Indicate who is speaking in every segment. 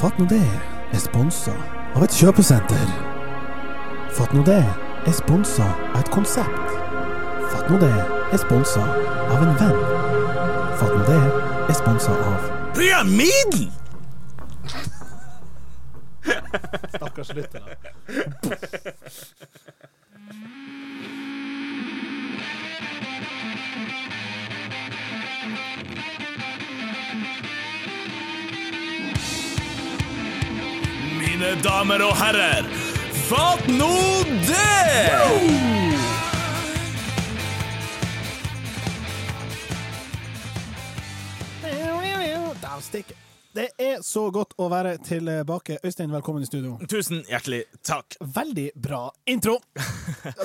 Speaker 1: Fatt nå det er sponsa av et kjøpesenter. Fatt nå det er sponsa av et konsept. Fatt nå det er sponsa av en venn. Fatt nå det er sponsa av
Speaker 2: Pyramiden!
Speaker 1: Stakkars lyttere.
Speaker 2: Mine damer og herrer, fatt nå det!
Speaker 1: Dagstikke. Det er så godt å være tilbake. Øystein, velkommen i studio.
Speaker 2: Tusen hjertelig takk.
Speaker 1: Veldig bra intro.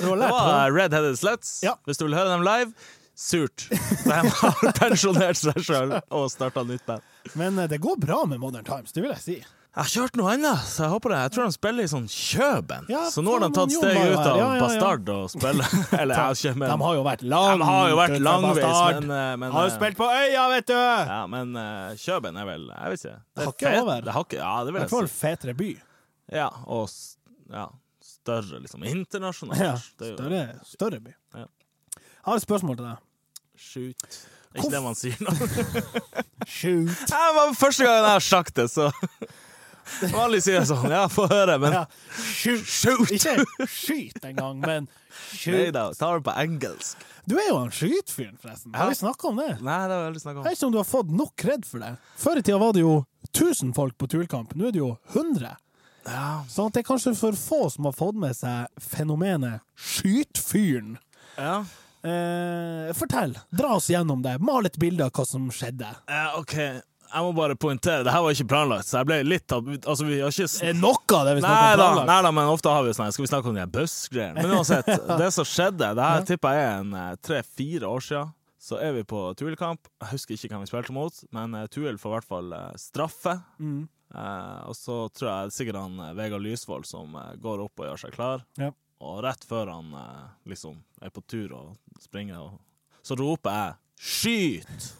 Speaker 1: Du har
Speaker 2: Det
Speaker 1: lært på
Speaker 2: var Redheaded Sluts.
Speaker 1: Ja.
Speaker 2: Hvis du vil høre dem live, surt. De har pensjonert seg sjøl og starta nytt band.
Speaker 1: det. Men eh, det går bra med Modern Times, det vil jeg si.
Speaker 2: Jeg har kjørt noe annet, så jeg håper det. Jeg tror de spiller i sånn Kjøben.
Speaker 1: Ja,
Speaker 2: så nå har de
Speaker 1: faen,
Speaker 2: tatt
Speaker 1: Jon
Speaker 2: steget
Speaker 1: var jo
Speaker 2: ut
Speaker 1: her. Ja,
Speaker 2: av
Speaker 1: ja, ja.
Speaker 2: Bastard og spiller Eller jeg har ikke
Speaker 1: De
Speaker 2: men
Speaker 1: har jo vært
Speaker 2: De
Speaker 1: langt
Speaker 2: har jo vært
Speaker 1: utenfor
Speaker 2: langveis,
Speaker 1: bastard.
Speaker 2: men, eh, men
Speaker 1: Har jo
Speaker 2: eh,
Speaker 1: spilt på øya, vet du!
Speaker 2: Ja, men eh, Kjøben er vel Jeg vet ikke. Det er
Speaker 1: Hakket
Speaker 2: fet-
Speaker 1: over.
Speaker 2: Det er hakket- ja,
Speaker 1: I
Speaker 2: det vil
Speaker 1: hvert fall
Speaker 2: jeg si.
Speaker 1: fetere by.
Speaker 2: Ja, og s- ja, større, liksom. Internasjonalt.
Speaker 1: Ja,
Speaker 2: Det er jo-
Speaker 1: større, større by.
Speaker 2: Ja.
Speaker 1: Jeg har et spørsmål til deg.
Speaker 2: Shoot. Det er
Speaker 1: Hvorf-
Speaker 2: ikke det man sier nå.
Speaker 1: Shoot.
Speaker 2: Det var første gangen jeg har sagt det, så Vanlig sier jeg sånn. Ja, få høre, men
Speaker 1: Ja. Shoot.
Speaker 2: Shoot!
Speaker 1: Ikke skyt engang, men
Speaker 2: Nei
Speaker 1: shoot.
Speaker 2: da, ta det på engelsk.
Speaker 1: Du er jo han skytfyren, forresten. Har
Speaker 2: Ja.
Speaker 1: vi snakka om det?
Speaker 2: Nei, det har vi aldri snakka
Speaker 1: Jeg
Speaker 2: om.
Speaker 1: vet ikke om du har fått nok kred for det. Før i tida var det jo 1000 folk på turkamp, nå er det jo 100.
Speaker 2: Ja.
Speaker 1: Sånn at det er kanskje for få som har fått med seg fenomenet skytfyren.
Speaker 2: ja.
Speaker 1: Eh, fortell. Dra oss gjennom det. Mal et bilde av hva som skjedde.
Speaker 2: Eh, OK, jeg må bare poengtere. Det her var ikke planlagt, så jeg ble litt tatt ut. Altså, vi har ikke s-
Speaker 1: Er det Eh, noe av det vi snakker
Speaker 2: Nei
Speaker 1: om
Speaker 2: da,
Speaker 1: planlagt?
Speaker 2: nei da, men ofte har vi jo sånn her, Skal vi snakke om de her bussgreiene? Men uansett, det som skjedde Det her tipper jeg er en eh, tre-fire år siden. Så er vi på Tuel-kamp. Jeg husker ikke hvem vi spilte mot, men eh, Tuel får i hvert fall eh, straffe.
Speaker 1: Mm.
Speaker 2: Eh, og så tror jeg det er sikkert han eh, Vegard Lysvold som eh, går opp og gjør seg klar.
Speaker 1: Ja.
Speaker 2: Og rett før han eh, liksom er på tur og springer, og så roper jeg 'skyt'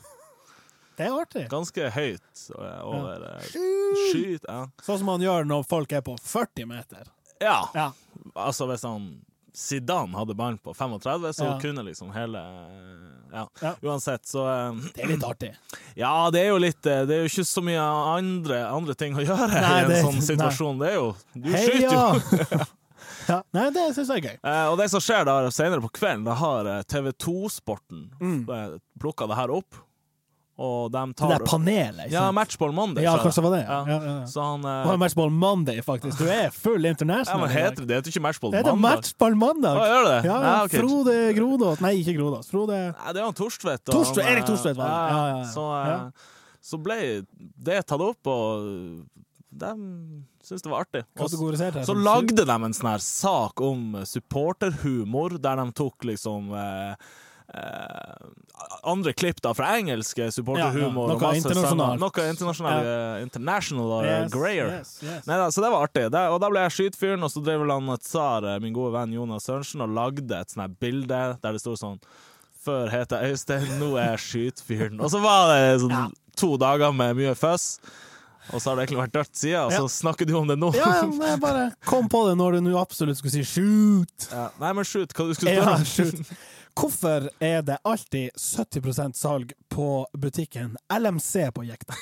Speaker 1: Det er artig.
Speaker 2: ganske høyt eh, over eh,
Speaker 1: Skyt!
Speaker 2: Skyt, ja.
Speaker 1: Sånn som man gjør når folk er på 40 meter.
Speaker 2: ja.
Speaker 1: Ja.
Speaker 2: Altså hvis han Zidane hadde ballen på 35, så
Speaker 1: Ja.
Speaker 2: kunne liksom hele eh, ja.
Speaker 1: Ja.
Speaker 2: Uansett, så eh,
Speaker 1: Det er litt artig.
Speaker 2: Ja, det er jo litt eh, Det er jo ikke så mye andre, andre ting å gjøre
Speaker 1: Nei,
Speaker 2: i
Speaker 1: det-
Speaker 2: en sånn situasjon. Det er jo Du skyter jo!
Speaker 1: Heia! ja. Nei, det syns jeg er gøy.
Speaker 2: Eh, og det som skjer da senere på kvelden, da har eh, TV2-sporten
Speaker 1: Mm.
Speaker 2: eh, plukka det her opp, og de
Speaker 1: Det
Speaker 2: tar
Speaker 1: der panelet, ikke
Speaker 2: Ja,
Speaker 1: sant?
Speaker 2: Matchball Monday.
Speaker 1: Ja,
Speaker 2: sa jeg.
Speaker 1: kanskje det var det. Ja. Ja, ja, ja.
Speaker 2: Så han eh,
Speaker 1: Det var Matchball Monday, faktisk. Du er full
Speaker 2: ja,
Speaker 1: international.
Speaker 2: men
Speaker 1: i dag.
Speaker 2: heter det det? Heter ikke Matchball
Speaker 1: Er det
Speaker 2: Mandag?
Speaker 1: Matchball Mandag?
Speaker 2: Å, gjør det?
Speaker 1: Ja,
Speaker 2: Nei, ok.
Speaker 1: Frode Grodås Nei, ikke Grodås. Frode
Speaker 2: Nei, det var han Torstvedt. og
Speaker 1: Torstvedt,
Speaker 2: han, eh,
Speaker 1: Erik Torstvedt var det.
Speaker 2: ja,
Speaker 1: Ja, ja, ja.
Speaker 2: Så, eh,
Speaker 1: Ja.
Speaker 2: så ble det tatt opp, og de syntes det var artig. Og s-
Speaker 1: kategoriserte her
Speaker 2: så
Speaker 1: som
Speaker 2: lagde de en sånn her sak om supporterhumor, der de tok liksom eh, eh, andre klipp da fra engelske supporterhumor.
Speaker 1: Ja, ja.
Speaker 2: og
Speaker 1: Noe
Speaker 2: masse
Speaker 1: internasjonalt.
Speaker 2: sanger. Noe internasjonal, eh, international og
Speaker 1: Yes,
Speaker 2: grayer.
Speaker 1: yes, yes.
Speaker 2: Neida, så det var artig. Det, og da ble jeg skytfyren, og så drev vel han Tsar, eh, min gode venn Jonas Sørensen, og lagde et sånt her bilde der det sto sånn Før het jeg Øystein, nå er jeg skytfyren. Og så var det sånn
Speaker 1: Ja.
Speaker 2: to dager med mye føss, og så har det egentlig vært dødt siden, og så
Speaker 1: Ja.
Speaker 2: snakker du om det nå.
Speaker 1: Ja, ja, men jeg bare kom på det når du nå absolutt skulle si shoot.
Speaker 2: Ja. Nei, men shoot, hva du skulle
Speaker 1: Ja,
Speaker 2: spørre om?
Speaker 1: shoot. Hvorfor er det alltid 70 salg på butikken LMC på Jekta?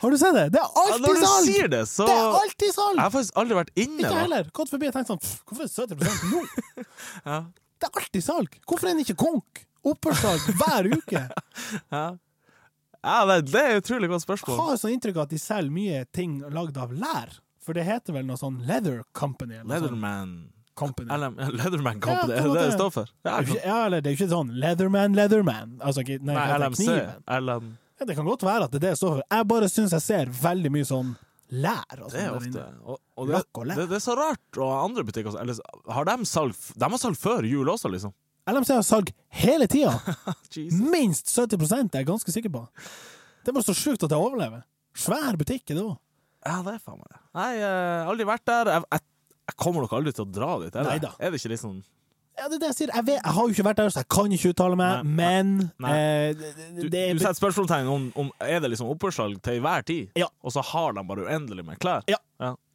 Speaker 1: Har du sett det? Det er
Speaker 2: Ja,
Speaker 1: alltid
Speaker 2: når du
Speaker 1: salg!
Speaker 2: sier det, så
Speaker 1: Det er
Speaker 2: Jeg
Speaker 1: alltid salg!
Speaker 2: har faktisk aldri vært inne
Speaker 1: Ikke
Speaker 2: da.
Speaker 1: jeg heller. Gått forbi og tenkt sånn "Pff, Hvorfor er det 70 nå?
Speaker 2: Ja.
Speaker 1: Det er alltid salg! Hvorfor er den ikke konk? Opphørssalg hver uke!
Speaker 2: Ja. Ja, det, det er et utrolig godt
Speaker 1: Jeg
Speaker 2: spørsmål.
Speaker 1: har sånn inntrykk av at de selger mye ting lagd av lær. For det heter vel noe sånn Leather Company? Eller noe sånt
Speaker 2: Leatherman
Speaker 1: company.
Speaker 2: LM, Leatherman
Speaker 1: Ja,
Speaker 2: Company,
Speaker 1: på en
Speaker 2: er det det
Speaker 1: måte.
Speaker 2: det står for?
Speaker 1: Det
Speaker 2: Ja,
Speaker 1: er jo ikke- Ja, eller det er jo ikke sånn Leatherman, Leatherman. Altså, ikke, nei,
Speaker 2: Nei,
Speaker 1: hva heter
Speaker 2: LMC.
Speaker 1: kniven?
Speaker 2: LM...
Speaker 1: Ja, det kan godt være at det er det det står for. Jeg bare syns jeg ser veldig mye sånn lær. Og
Speaker 2: Det er
Speaker 1: sånn der
Speaker 2: ofte.
Speaker 1: inne.
Speaker 2: Og, og det,
Speaker 1: Lakk og lær.
Speaker 2: det, det er så rart. Og andre butikker også. Eller, så- har de salg f- De har salg før jul også, liksom. Mm.
Speaker 1: LMC har salg hele tida. Minst 70 er jeg ganske sikker på. Det er bare så sjukt at jeg overlever. Svær butikk er det òg.
Speaker 2: Ja, det er faen meg det. eh, Nei, jeg har aldri vært der. Jeg, jeg, jeg kommer nok aldri til å dra dit. Er det,
Speaker 1: Neida.
Speaker 2: er det ikke litt sånn
Speaker 1: Ja, det er det jeg sier. Jeg, vet, jeg har jo ikke vært der, så jeg kan ikke uttale meg,
Speaker 2: Nei,
Speaker 1: men
Speaker 2: nei.
Speaker 1: eh, det-
Speaker 2: Du,
Speaker 1: det
Speaker 2: du setter spørsmålstegn om, om er det liksom oppførsel til enhver tid,
Speaker 1: Ja.
Speaker 2: og så har de bare uendelig med klær.
Speaker 1: Ja.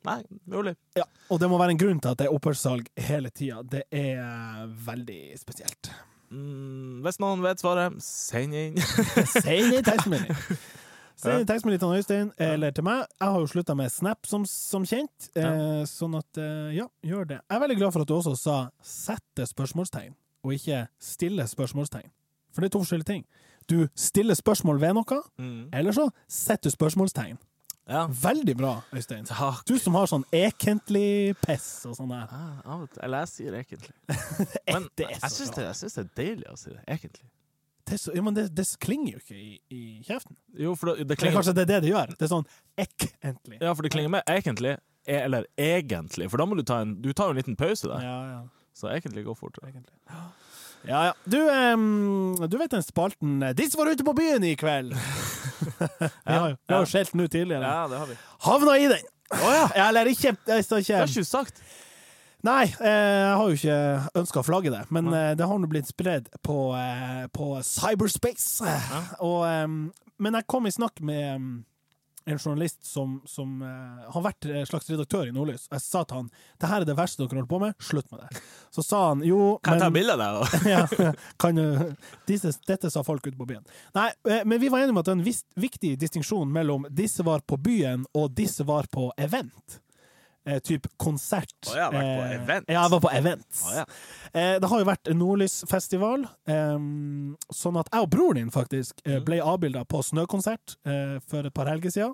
Speaker 2: Nei, mulig.
Speaker 1: ja, Og det må være en grunn til at det er opphørssalg hele tida. Det er eh, veldig spesielt.
Speaker 2: Mm, hvis noen vet svaret, send inn.
Speaker 1: Si det i tekstmelding. Si det i tekstmelding til Øystein, eller til meg. Jeg har jo slutta med Snap, som, som kjent. Eh, sånn at, eh, ja, gjør det. Jeg er veldig glad for at du også sa 'sette spørsmålstegn', og ikke 'stille spørsmålstegn'. For det er to forskjellige ting. Du stiller spørsmål ved noe,
Speaker 2: Mm.
Speaker 1: eller så setter du spørsmålstegn.
Speaker 2: Ja.
Speaker 1: Veldig bra, Øystein.
Speaker 2: Takk.
Speaker 1: Du som har sånn egentlig-piss og sånn der.
Speaker 2: Ah, av og til- Eller jeg sier egentlig. Men
Speaker 1: det er
Speaker 2: jeg
Speaker 1: så
Speaker 2: syns
Speaker 1: bra.
Speaker 2: det, jeg syns det er deilig å si det. Egentlig.
Speaker 1: Det, er så, ja, men det, det klinger jo ikke i, i kjeften.
Speaker 2: Jo, for det, det
Speaker 1: Eller
Speaker 2: klinger,
Speaker 1: kanskje det er det det gjør. Det er sånn ek-entlig.
Speaker 2: ja, for det klinger med egentlig, e- eller egentlig, for da må du ta en, du tar jo en liten pause der.
Speaker 1: Ja, ja.
Speaker 2: Så egentlig går fortere.
Speaker 1: egentlig. Ja, ja. Du, em, du vet den spalten eh, 'Disse var ute på byen i kveld'. Vi har jo- vi har jo skjelt den ut tidligere.
Speaker 2: det har vi.
Speaker 1: Havna i den! Ja, Eller ikke, jeg sa
Speaker 2: Det har
Speaker 1: ikke
Speaker 2: ikke du sagt.
Speaker 1: Nei, eh, jeg har jo ikke ønska å flagge det, men eh, det har nå blitt spredd på, eh, på cyberspace. Og, em, men jeg kom i snakk med em, en journalist som, som eh, har vært eh, slags redaktør i Nordlys. Jeg sa til han det her er det verste dere holder på med, slutt med det. Så sa han jo
Speaker 2: Kan jeg ta
Speaker 1: men-
Speaker 2: bilde av deg?
Speaker 1: ja, kan, jo- disse, dette sa folk ute på byen. Nei, eh, men vi var enige om at det er en vis, viktig distinksjon mellom 'disse var på byen' og 'disse var på event'. Eh, typ konsert.
Speaker 2: Å, jeg har vært på event.
Speaker 1: Eh, ja, jeg var på event.
Speaker 2: Å, ja.
Speaker 1: eh, det har jo vært Nordlysfestival, eh, sånn at jeg og broren din faktisk eh,
Speaker 2: Mm.
Speaker 1: ble avbilda på snøkonsert eh, for et par helger siden.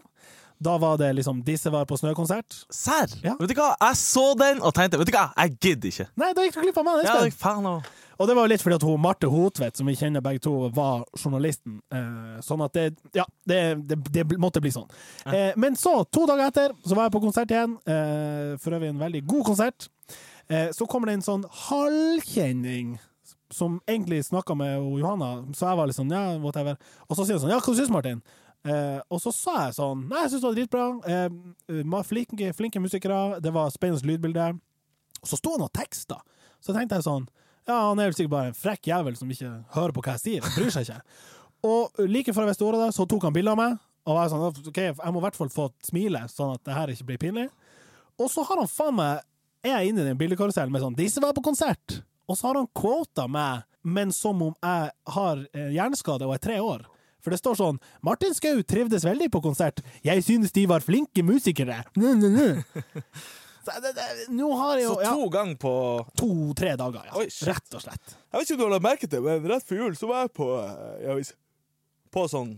Speaker 1: Da var det liksom 'disse var på snøkonsert'.
Speaker 2: Serr?
Speaker 1: Ja.
Speaker 2: Vet du hva, jeg så den og tenkte Vet du hva, jeg gidder ikke.
Speaker 1: Nei, da gikk du glipp av meg!
Speaker 2: Ja,
Speaker 1: Espen.
Speaker 2: det er faen og
Speaker 1: Og det var jo litt fordi at hun, Marte Hotvedt, som vi kjenner begge to, var journalisten. Eh, sånn at det Ja, det, det, det måtte bli sånn. Eh, men så, to dager etter, så var jeg på konsert igjen. Eh, for øvrig en veldig god konsert. Eh, så kommer det en sånn halvkjenning. Som egentlig snakka med hun Johanna, så jeg var litt sånn ja, whatever. Og så sier hun sånn ja, hva syns du, Martin? Eh, og så sa jeg sånn nei, jeg syns det var dritbra. Eh, ma- flinke, flinke musikere, det var spennende lydbilde. Og så sto han og teksta. Så tenkte jeg sånn Ja, han er vel sikkert bare en frekk jævel som ikke hører på hva jeg sier. Han bryr seg ikke. Og like før jeg visste ordet av det, så tok han bilde av meg. Og jeg sånn, ok, jeg må i hvert fall få smile, sånn at det her ikke blir pinlig. Og så har han faen meg Er jeg inne i den bildekarusellen med sånn 'Disse var på konsert', og så har han quota meg, men som om jeg har eh, hjerneskade og er tre år. For det står sånn 'Martin Skau trivdes veldig på konsert. Jeg synes de var flinke musikere'. Nå, nå, nå. Så det, det, nå har jeg jo ja,
Speaker 2: ganger på
Speaker 1: To-tre dager, ja.
Speaker 2: Oi, shit.
Speaker 1: Rett og slett.
Speaker 2: Jeg vet ikke om du har merket det, men rett før jul så var jeg på eh, jeg vet, På sånn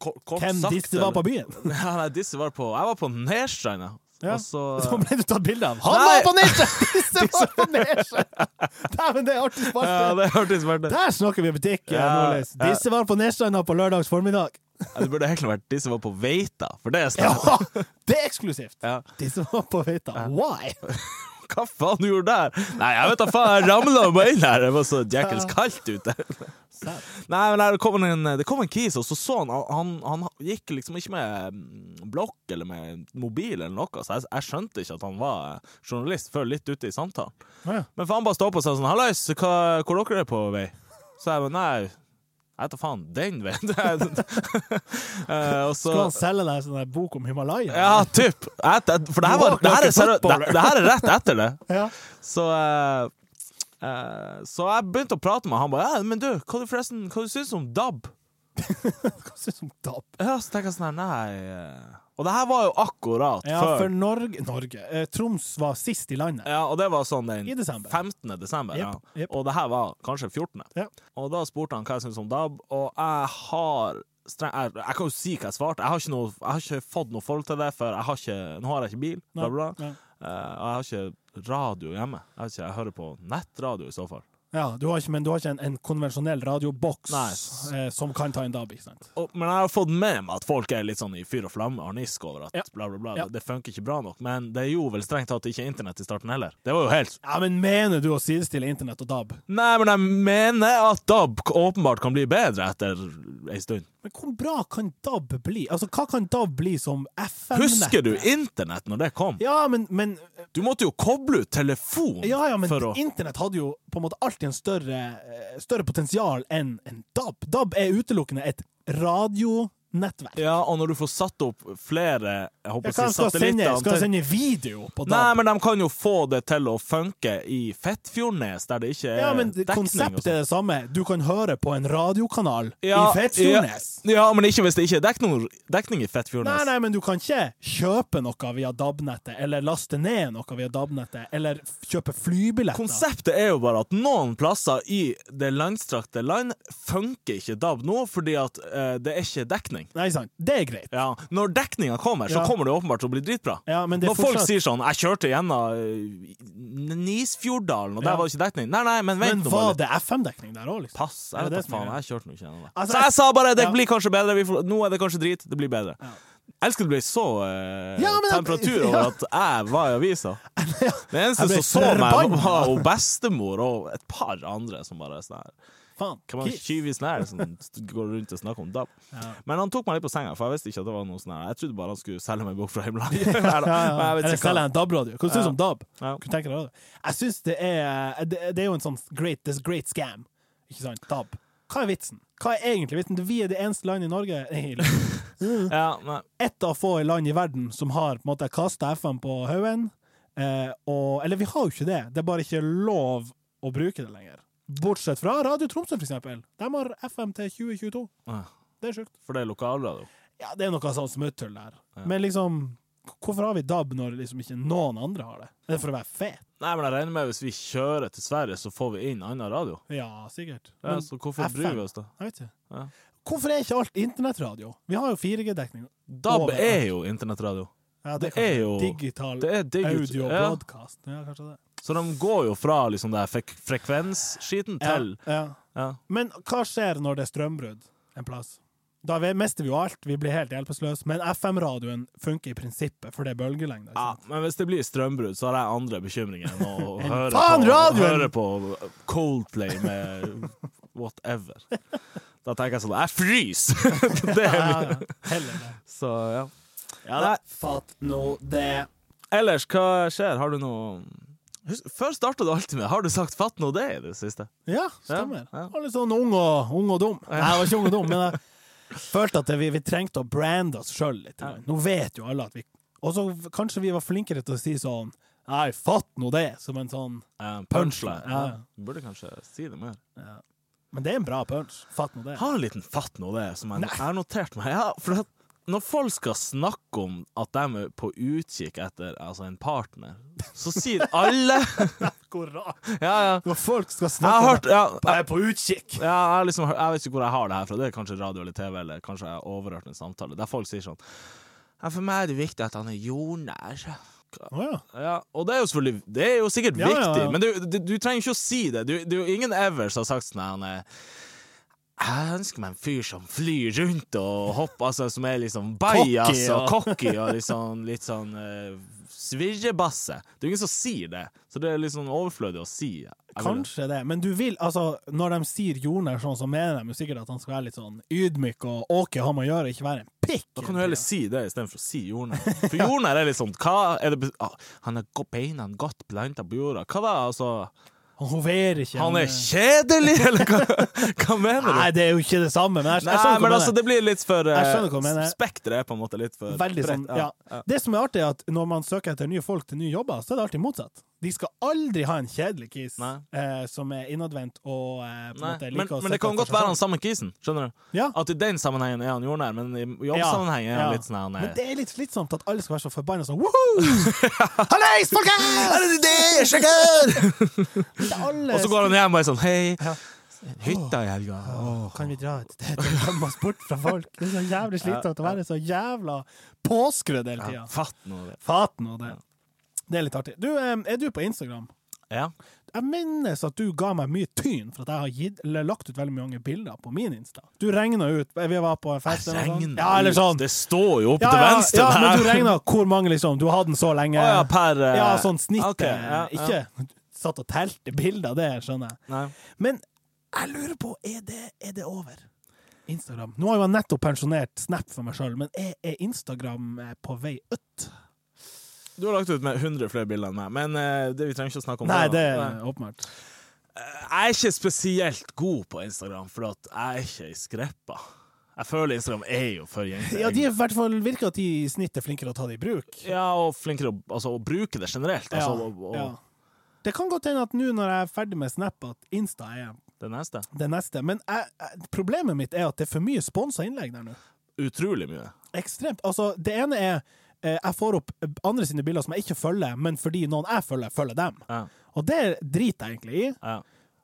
Speaker 2: ko- Kort
Speaker 1: Hvem
Speaker 2: sagt
Speaker 1: disse var på byen?
Speaker 2: eller- Ja, nei, disse var på Jeg var på Altså, Nerstranda.
Speaker 1: Ja.
Speaker 2: Og så
Speaker 1: Så ble du tatt bilde av. Han
Speaker 2: Nei!
Speaker 1: var på nesje! Disse var på nesje! Dæven, det er artig
Speaker 2: Ja,
Speaker 1: spalte.
Speaker 2: det hørtes verdt ut.
Speaker 1: Der snakker vi butikk, ja,
Speaker 2: Ja,
Speaker 1: Nordlys.
Speaker 2: ja.
Speaker 1: Disse var på Nesjøna på lørdags formiddag.
Speaker 2: Ja, Det burde egentlig vært disse var på Veita, for det er
Speaker 1: Ja,
Speaker 2: snart.
Speaker 1: det er eksklusivt.
Speaker 2: Ja.
Speaker 1: Disse var på Veita. Why?
Speaker 2: Hva faen du gjorde der? Nei, jeg vet da faen, jeg ramla meg inn her. Det var så jækels kaldt ute. Nei, men der kom en, Det kom en kis, og så så han Han, han gikk liksom ikke med mm, blokk eller med mobil eller noe, så jeg, jeg skjønte ikke at han var journalist før litt ute i samtalen.
Speaker 1: Ja.
Speaker 2: Men faen bare stå på og sa sånn 'Hallais, hva- hvor dere er på vei?' Så jeg bare 'Nei, jeg vet da faen, den veien'. Eh, og så
Speaker 1: Skulle han selge deg en sånn der bok om Himalaya?
Speaker 2: Ja, typ. Et, et, for det her, var,
Speaker 1: Walk
Speaker 2: det, her
Speaker 1: like
Speaker 2: er,
Speaker 1: a
Speaker 2: seriø-
Speaker 1: footballer.
Speaker 2: det, det her er rett etter det.
Speaker 1: Ja.
Speaker 2: Så eh, eh, Så jeg begynte å prate med han. Han bare ja, 'Men du, hva du forresten Hva du syns du om DAB?'
Speaker 1: Hva synes du om DAB?
Speaker 2: Ja, så tenker jeg sånn her Nei eh. Og det her var jo akkurat
Speaker 1: Ja,
Speaker 2: før.
Speaker 1: for Norge Norge. Eh, Troms var sist i landet.
Speaker 2: Ja, og det var sånn den
Speaker 1: I desember.
Speaker 2: 15. desember.
Speaker 1: Jepp,
Speaker 2: ja.
Speaker 1: jepp.
Speaker 2: Og det her var kanskje 14.
Speaker 1: Ja.
Speaker 2: Og da spurte han hva jeg syntes om DAB, og jeg har streng, jeg, jeg kan jo si hva jeg svarte. Jeg har ikke, noe, jeg har ikke fått noe forhold til det, for jeg har ikke, nå har jeg ikke bil. Bla, bla.
Speaker 1: Nei.
Speaker 2: Eh, og jeg har ikke radio hjemme. Jeg, vet ikke, jeg hører på nettradio i så fall.
Speaker 1: Ja, du har ikke, men du har ikke en, en konvensjonell radioboks
Speaker 2: Nei.
Speaker 1: eh, som kan ta en DAB, ikke sant?
Speaker 2: Og, men jeg har fått med meg at folk er litt sånn i fyr og flamme harnisk over at
Speaker 1: Ja.
Speaker 2: bla, bla, bla.
Speaker 1: Ja.
Speaker 2: Det funker ikke bra nok. Men det gjorde vel strengt tatt ikke internett i starten heller. Det var jo helt
Speaker 1: Ja, men mener du å sidestille internett og DAB?
Speaker 2: Nei, men jeg mener at DAB k- åpenbart kan bli bedre etter ei stund.
Speaker 1: Men hvor bra kan DAB bli? Altså, hva kan DAB bli som FM-nett?
Speaker 2: Husker du internett når det kom?
Speaker 1: Ja, men, men
Speaker 2: Du måtte jo koble ut telefon
Speaker 1: Ja, ja, men
Speaker 2: for å
Speaker 1: internett hadde jo på en måte alltid en større, eh, større potensial enn en DAB. DAB er utelukkende et radionettverk.
Speaker 2: Ja, og når du får satt opp flere jeg håper
Speaker 1: Ja, hva
Speaker 2: å si
Speaker 1: skal jeg sende?
Speaker 2: satellitter
Speaker 1: Skal jeg sende video på DAB?
Speaker 2: Nei, men de kan jo få det til å funke i Fettfjordnes, der det ikke er
Speaker 1: ja, men det-
Speaker 2: eh, dekning. og
Speaker 1: konseptet
Speaker 2: sånt.
Speaker 1: er det samme. Du kan høre på en radiokanal
Speaker 2: Ja,
Speaker 1: i Fetsfjordnes.
Speaker 2: Ja, ja, men ikke hvis det ikke er dekning, dekning i
Speaker 1: Nei,
Speaker 2: Fettfjordnes.
Speaker 1: nei, men du kan ikke kjøpe noe via DAB-nettet, eller laste ned noe via DAB-nettet, eller f- kjøpe flybilletter.
Speaker 2: Konseptet er jo bare at noen plasser i det landstrakte land funker ikke DAB nå, fordi at eh, det er ikke dekning.
Speaker 1: Nei, sant. Det er greit.
Speaker 2: Ja, Når dekninga kommer, så
Speaker 1: Ja.
Speaker 2: kommer det åpenbart til å bli dritbra.
Speaker 1: Ja, men det er
Speaker 2: Når folk
Speaker 1: fortsatt-
Speaker 2: sier sånn 'Jeg kjørte gjennom eh, Nisfjorddalen, og der
Speaker 1: Ja.
Speaker 2: var det ikke dekning'. Nei, nei, men
Speaker 1: Men
Speaker 2: vent nå
Speaker 1: var
Speaker 2: bare litt.
Speaker 1: det FM-dekning der òg, liksom?
Speaker 2: Pass. Jeg
Speaker 1: Ja,
Speaker 2: vet
Speaker 1: det
Speaker 2: da
Speaker 1: som er
Speaker 2: faen,
Speaker 1: greia.
Speaker 2: jeg kjørte nå ikke gjennom det.
Speaker 1: Altså,
Speaker 2: så jeg sa bare det
Speaker 1: ja.
Speaker 2: blir kanskje bedre, vi får, nå er det kanskje drit, det blir bedre.
Speaker 1: Ja.
Speaker 2: Jeg elsker det blir så eh,
Speaker 1: Ja, men-
Speaker 2: temperatur over
Speaker 1: ja.
Speaker 2: at jeg var i avisa. Den eneste
Speaker 1: Jeg ble
Speaker 2: som så meg,
Speaker 1: forbanna.
Speaker 2: var hun bestemor og et par andre som bare sånn her
Speaker 1: Faen.
Speaker 2: Hvem er tyvisen her som går rundt og snakker om DAB?
Speaker 1: Ja.
Speaker 2: Men han tok meg litt på senga, for jeg visste ikke at det var noe sånn her Jeg trodde bare han skulle selge meg bort fra hjemlandet. Nei da, men jeg vet
Speaker 1: Eller
Speaker 2: ikke
Speaker 1: selge
Speaker 2: hva.
Speaker 1: en DAB-radio. Hva syns du
Speaker 2: Ja.
Speaker 1: om DAB?
Speaker 2: Ja.
Speaker 1: Kunne tenke deg det. Jeg syns det er det, det er jo en sånn great, this great scam. Ikke sant? DAB. Hva er vitsen? Hva er egentlig vitsen? Vi er det eneste landet i Norge Nei,
Speaker 2: Ja, nei.
Speaker 1: Ett av få land i verden som har på en måte kasta FM på haugen. Eh, og Eller vi har jo ikke det, det er bare ikke lov å bruke det lenger. Bortsett fra Radio Tromsø, for eksempel. De har FM til 2022.
Speaker 2: Ah.
Speaker 1: Det er sjukt.
Speaker 2: For det er lokalradio.
Speaker 1: Ja, det er noe sånn smutthull der. Men liksom, k- hvorfor har vi DAB når liksom ikke noen andre har det? Er det for å være fet?
Speaker 2: Nei, men jeg regner med hvis vi kjører til Sverige, så får vi inn annen radio.
Speaker 1: Ja, sikkert.
Speaker 2: Ja,
Speaker 1: Men
Speaker 2: så hvorfor
Speaker 1: FM?
Speaker 2: bryr vi oss da?
Speaker 1: jeg vet ikke.
Speaker 2: Ja.
Speaker 1: Hvorfor er ikke alt internettradio? Vi har jo 4G-dekning.
Speaker 2: DAB
Speaker 1: Over-
Speaker 2: er jo internettradio.
Speaker 1: Ja,
Speaker 2: Det
Speaker 1: kanskje
Speaker 2: er jo-
Speaker 1: Digital
Speaker 2: Det er digit.
Speaker 1: audio
Speaker 2: Ja.
Speaker 1: broadcast. Ja, kanskje det.
Speaker 2: Så de går jo fra liksom det her frek frekvensskiten
Speaker 1: Ja,
Speaker 2: til
Speaker 1: ja.
Speaker 2: ja.
Speaker 1: Men hva skjer når det er strømbrudd en plass? Da vi- mister vi jo alt, vi blir helt hjelpeløse. Men FM-radioen funker i prinsippet, for det er bølgelengde. ikke
Speaker 2: Ja,
Speaker 1: sant?
Speaker 2: men hvis det blir strømbrudd, så har jeg andre bekymringer enn å høre,
Speaker 1: faen
Speaker 2: på,
Speaker 1: radioen!
Speaker 2: høre på Coldplay med whatever. Da tenker jeg sånn Jeg fryser! det er
Speaker 1: Ja,
Speaker 2: min.
Speaker 1: ja. Heller det.
Speaker 2: Så ja.
Speaker 1: Ja, Fatt nå det.
Speaker 2: Ellers, hva skjer? Har du noe Husk, Før starta du alltid med 'Har du sagt fatt nå det?' i det siste.
Speaker 1: Ja, stemmer.
Speaker 2: Ja, ja.
Speaker 1: Jeg var litt sånn ung og, ung og dum. Nei, jeg var ikke ung og dum, men jeg følte at vi, vi trengte å brande oss sjøl litt.
Speaker 2: Ja.
Speaker 1: Nå vet jo alle at vi Og så kanskje vi var flinkere til å si sånn Nei, fatt nå det, som en sånn
Speaker 2: Eh, punchline.
Speaker 1: Ja.
Speaker 2: Ja. Du burde kanskje si det mer.
Speaker 1: Men det er en bra punch. Fatt nå det.
Speaker 2: Jeg har en liten fatt nå, det, som jeg,
Speaker 1: Nei.
Speaker 2: jeg har notert meg. Ja, for at når folk skal snakke om at de er på utkikk etter altså en partner, så sier alle
Speaker 1: Hvor rart.
Speaker 2: Ja, ja.
Speaker 1: Når folk skal
Speaker 2: Jeg har
Speaker 1: snakke
Speaker 2: hørt ja,
Speaker 1: om Jeg er på utkikk.
Speaker 2: ja, jeg, har liksom, hørt- jeg vet ikke hvor jeg har det her fra. Det er kanskje radio eller TV, eller kanskje jeg har overhørt en samtale der folk sier sånn ja, For meg er det viktig at han er jordnær.
Speaker 1: Å ja.
Speaker 2: Ja, og det er jo selvfølgelig Det er jo sikkert
Speaker 1: Ja, ja, ja.
Speaker 2: viktig, men du, du, du trenger ikke å si det. Du, det er jo ingen ever som har sagt sånn her han er, Jeg ønsker meg en fyr som flyr rundt og hopper, altså som er liksom bajas og cocky og liksom, litt sånn eh, svirrebasse. Det er jo ingen som sier det, så det er litt sånn overflødig å si. Jeg vil-
Speaker 1: Kanskje det, men du vil altså Når de sier jordnær sånn, så mener de jo sikkert at han skal være litt sånn ydmyk og åke ham å gjøre, ikke være en pikk.
Speaker 2: Da kan du heller si det istedenfor å si jordnær. For jordnær er litt sånn hva er det, be- ah, Han har go- beina godt planta på jorda. Hva da, altså?
Speaker 1: Han hoverer ikke.
Speaker 2: Han er kjedelig, eller hva, hva mener du?
Speaker 1: Nei, det er jo ikke det samme, men jeg, jeg
Speaker 2: Nei,
Speaker 1: skjønner
Speaker 2: men
Speaker 1: hva du
Speaker 2: altså,
Speaker 1: mener.
Speaker 2: det blir litt for
Speaker 1: Jeg skjønner hva du
Speaker 2: eh,
Speaker 1: mener.
Speaker 2: Spekteret er på en måte litt for
Speaker 1: Veldig sånn,
Speaker 2: bredt.
Speaker 1: ja. Det som er artig, er at når man søker etter nye folk til nye jobber, så er det alltid motsatt. De skal aldri ha en kjedelig kis
Speaker 2: Nei.
Speaker 1: eh, som er innadvendt og eh, på en
Speaker 2: Nei,
Speaker 1: måte liker
Speaker 2: men,
Speaker 1: å
Speaker 2: men det
Speaker 1: sitte
Speaker 2: kan
Speaker 1: for
Speaker 2: godt
Speaker 1: seg
Speaker 2: være han
Speaker 1: selv.
Speaker 2: samme kisen. Skjønner du?
Speaker 1: Ja.
Speaker 2: At i den sammenhengen er han jordnær, men i jobbsammenhengen er han litt sånn han
Speaker 1: Men
Speaker 2: er
Speaker 1: det er litt slitsomt at alle skal være så forbanna sånn Woho! Hallais, folkens!
Speaker 2: det det, sjekker!
Speaker 1: Alle
Speaker 2: Og så går han hjem og er sånn Hei,
Speaker 1: Ja.
Speaker 2: hytta i helga. Åh.
Speaker 1: Kan vi dra et sted og gjemme oss bort fra folk? Det er så jævlig slitsomt å være så jævla påskrudd hele tida.
Speaker 2: Ja, fatt nå det.
Speaker 1: Fatt nå det. Det er litt artig. Du, eh, er du på Instagram?
Speaker 2: Ja.
Speaker 1: Jeg minnes at du ga meg mye tyn for at jeg har gitt, eller lagt ut veldig mange bilder på min Insta. Du regna ut Vi var på en fest eller noe sånt.
Speaker 2: Regn
Speaker 1: Ja, eller
Speaker 2: ut.
Speaker 1: sånn.
Speaker 2: Det står jo opp
Speaker 1: Ja,
Speaker 2: til
Speaker 1: ja,
Speaker 2: venstre
Speaker 1: ja, men du
Speaker 2: der.
Speaker 1: regna hvor mange, liksom. Du har den så lenge.
Speaker 2: Å ja, per eh,
Speaker 1: Ja, sånn snitt.
Speaker 2: ok, ja, ja.
Speaker 1: Ikke satt og telte bilder, det skjønner jeg.
Speaker 2: Nei.
Speaker 1: Men jeg lurer på, er det, er det over? Instagram. Nå har jo jeg nettopp pensjonert Snap for meg sjøl, men er, er Instagram eh, på vei ut?
Speaker 2: Du har lagt ut med 100 flere bilder enn meg, men eh, det, vi trenger ikke å snakke om
Speaker 1: Nei,
Speaker 2: da.
Speaker 1: det
Speaker 2: Nei.
Speaker 1: er åpenbart.
Speaker 2: Jeg er ikke spesielt god på Instagram, for at jeg er ikke ei skreppa. Jeg føler Instagram er jo for jenter.
Speaker 1: Ja, de er i hvert fall virker at de i snitt er flinkere å ta det i bruk.
Speaker 2: Ja, og flinkere å, altså, å bruke det generelt. Altså, og, og,
Speaker 1: ja. Det kan godt hende at nå når jeg er ferdig med Snap, at Insta er
Speaker 2: Det neste.
Speaker 1: det neste. Men jeg, jeg, problemet mitt er at det er for mye sponsa innlegg der nå.
Speaker 2: Utrolig mye.
Speaker 1: Ekstremt. Altså, det ene er eh, jeg får opp andre sine bilder som jeg ikke følger, men fordi noen jeg følger, følger dem.
Speaker 2: Ja,
Speaker 1: Og det driter jeg egentlig i.
Speaker 2: ja.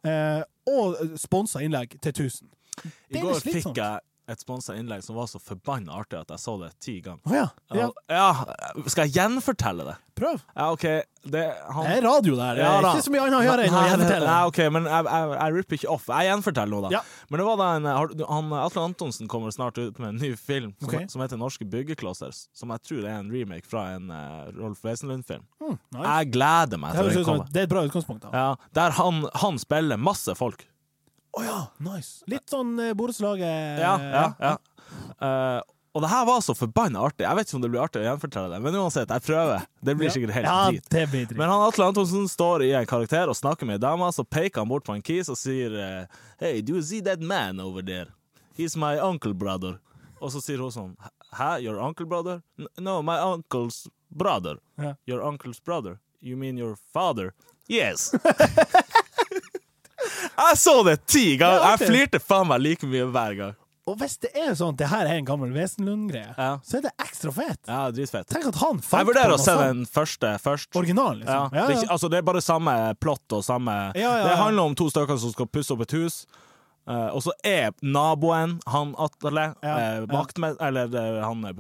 Speaker 1: Eh, og sponsa innlegg til 1000.
Speaker 2: I
Speaker 1: Det er
Speaker 2: går
Speaker 1: litt slitsomt.
Speaker 2: fikk jeg et sponsa innlegg som var så forbanna artig at jeg så det ti ganger.
Speaker 1: Å ja. ja.
Speaker 2: Ja, skal jeg gjenfortelle det?
Speaker 1: Prøv.
Speaker 2: Ja, OK. Det, han,
Speaker 1: Det er radio der. Det
Speaker 2: Ja,
Speaker 1: er
Speaker 2: da.
Speaker 1: Eh, ikke så mye annet å gjøre enn å
Speaker 2: Nei,
Speaker 1: gjenfortelle.
Speaker 2: Nei, ok, men jeg, jeg, jeg ripper ikke off. Jeg gjenforteller nå, da.
Speaker 1: Ja.
Speaker 2: Men det var da en, har du- han, Atle Antonsen kommer snart ut med en ny film som,
Speaker 1: Ok.
Speaker 2: som heter 'Norske byggeklosser', som jeg tror er en remake fra en eh, Rolf Wesenlund-film.
Speaker 1: Mm, nice.
Speaker 2: Jeg gleder meg
Speaker 1: Det
Speaker 2: til
Speaker 1: høres
Speaker 2: den
Speaker 1: ut som
Speaker 2: kommer.
Speaker 1: et- det er et bra utgangspunkt. da. Å
Speaker 2: Ja, der han, han spiller masse folk.
Speaker 1: ja, nice. Litt sånn eh, borettslaget
Speaker 2: Ja, ja, ja. Eh, og det her var så forbanna artig. Jeg vet ikke om det blir artig å gjenfortelle det, men uansett, jeg prøver. Det blir sikkert helt
Speaker 1: ja,
Speaker 2: drit.
Speaker 1: Det blir drit.
Speaker 2: Men han Atle Antonsen står i en karakter og snakker med ei dame, så peker han bort på en kis og sier eh, Hey, do you see that man over there? He's my uncle brother. Og så sier hun sånn Hæ, your uncle brother? "N- No, my uncle's brother.
Speaker 1: Ja.
Speaker 2: Your uncle's brother? You mean your father? Yes. Jeg så det ti
Speaker 1: Ja,
Speaker 2: ganger!
Speaker 1: ok.
Speaker 2: Jeg flirte faen meg like mye hver gang.
Speaker 1: Og hvis det er sånn at det her er en gammel Wesenlund-greie,
Speaker 2: Ja.
Speaker 1: så er det ekstra fett.
Speaker 2: Ja, dritfett.
Speaker 1: Tenk at han fant
Speaker 2: Jeg vurderer
Speaker 1: på
Speaker 2: å se
Speaker 1: noe sånt.
Speaker 2: den første først.
Speaker 1: Originalen,
Speaker 2: Ja.
Speaker 1: liksom.
Speaker 2: Det, er ikke, altså, det er bare samme plott og samme
Speaker 1: Ja, ja, ja.
Speaker 2: Det handler om to stykker som skal pusse opp et hus. eh, og så er naboen, han Atle,
Speaker 1: Ja,
Speaker 2: eh,
Speaker 1: ja.
Speaker 2: vaktmest- Eller eh, han er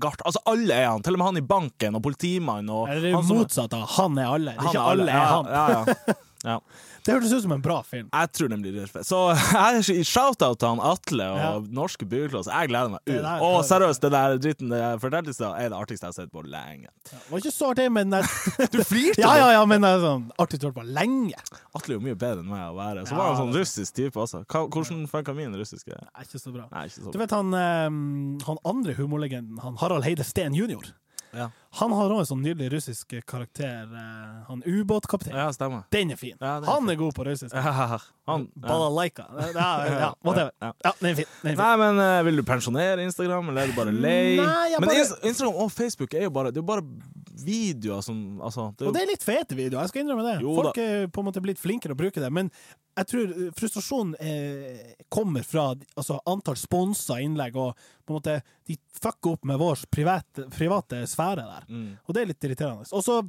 Speaker 2: gart... Altså, alle er han. Til og med han i banken og politimannen og
Speaker 1: Eller det er jo
Speaker 2: han som-
Speaker 1: motsatt av 'han er alle'.
Speaker 2: han
Speaker 1: ikke alle er han.
Speaker 2: Ja, ja, ja. ja.
Speaker 1: Det hørtes ut som en bra film.
Speaker 2: Jeg tror den blir dritfett. Så jeg- shout-out til han Atle og
Speaker 1: Ja.
Speaker 2: norske byggeklosser. Jeg gleder meg
Speaker 1: Det
Speaker 2: ut.
Speaker 1: der-
Speaker 2: Og seriøst, den der dritten jeg fortalte i stad, er det artigste jeg har sett på lenge.
Speaker 1: Det var ikke så artig, men jeg-
Speaker 2: Du flirte!
Speaker 1: Ja, ja, ja, men det er sånn artig tålt på lenge.
Speaker 2: Atle er jo mye bedre enn meg å være. Så
Speaker 1: Ja,
Speaker 2: var han sånn
Speaker 1: det-
Speaker 2: russisk type også. Hva, hvordan funka min russiske
Speaker 1: Det er ikke så bra.
Speaker 2: Nei, ikke
Speaker 1: Du
Speaker 2: sånn.
Speaker 1: vet han, eh, han andre humorlegenden, han Harald Heide Steen jr.,
Speaker 2: Ja,
Speaker 1: han har òg en sånn nydelig russisk karakter, eh, han ubåtkapteinen.
Speaker 2: ja stemmer.
Speaker 1: Den er fin.
Speaker 2: Ja, den er
Speaker 1: han er god på russisk.
Speaker 2: Han, ja.
Speaker 1: Balalaika. Ja, ja,
Speaker 2: Ja,
Speaker 1: whatever.
Speaker 2: ja.
Speaker 1: Ja, den er fin. Den er fin.
Speaker 2: Nei, men eh, Vil du pensjonere Instagram, eller er du bare lei?
Speaker 1: Nei, jeg
Speaker 2: men
Speaker 1: bare-
Speaker 2: Inst- Instagram og Facebook er jo bare Det er jo bare videoer som altså, det er jo,
Speaker 1: Og det er litt fete videoer, jeg skal innrømme det.
Speaker 2: Jo da.
Speaker 1: Folk er på en måte blitt flinkere å bruke det, men jeg tror eh, frustrasjonen eh, kommer fra altså, antall sponsa innlegg, og på en måte de fucker opp med vår private, private sfære der.
Speaker 2: Mm.
Speaker 1: Og det er litt irriterende. Og så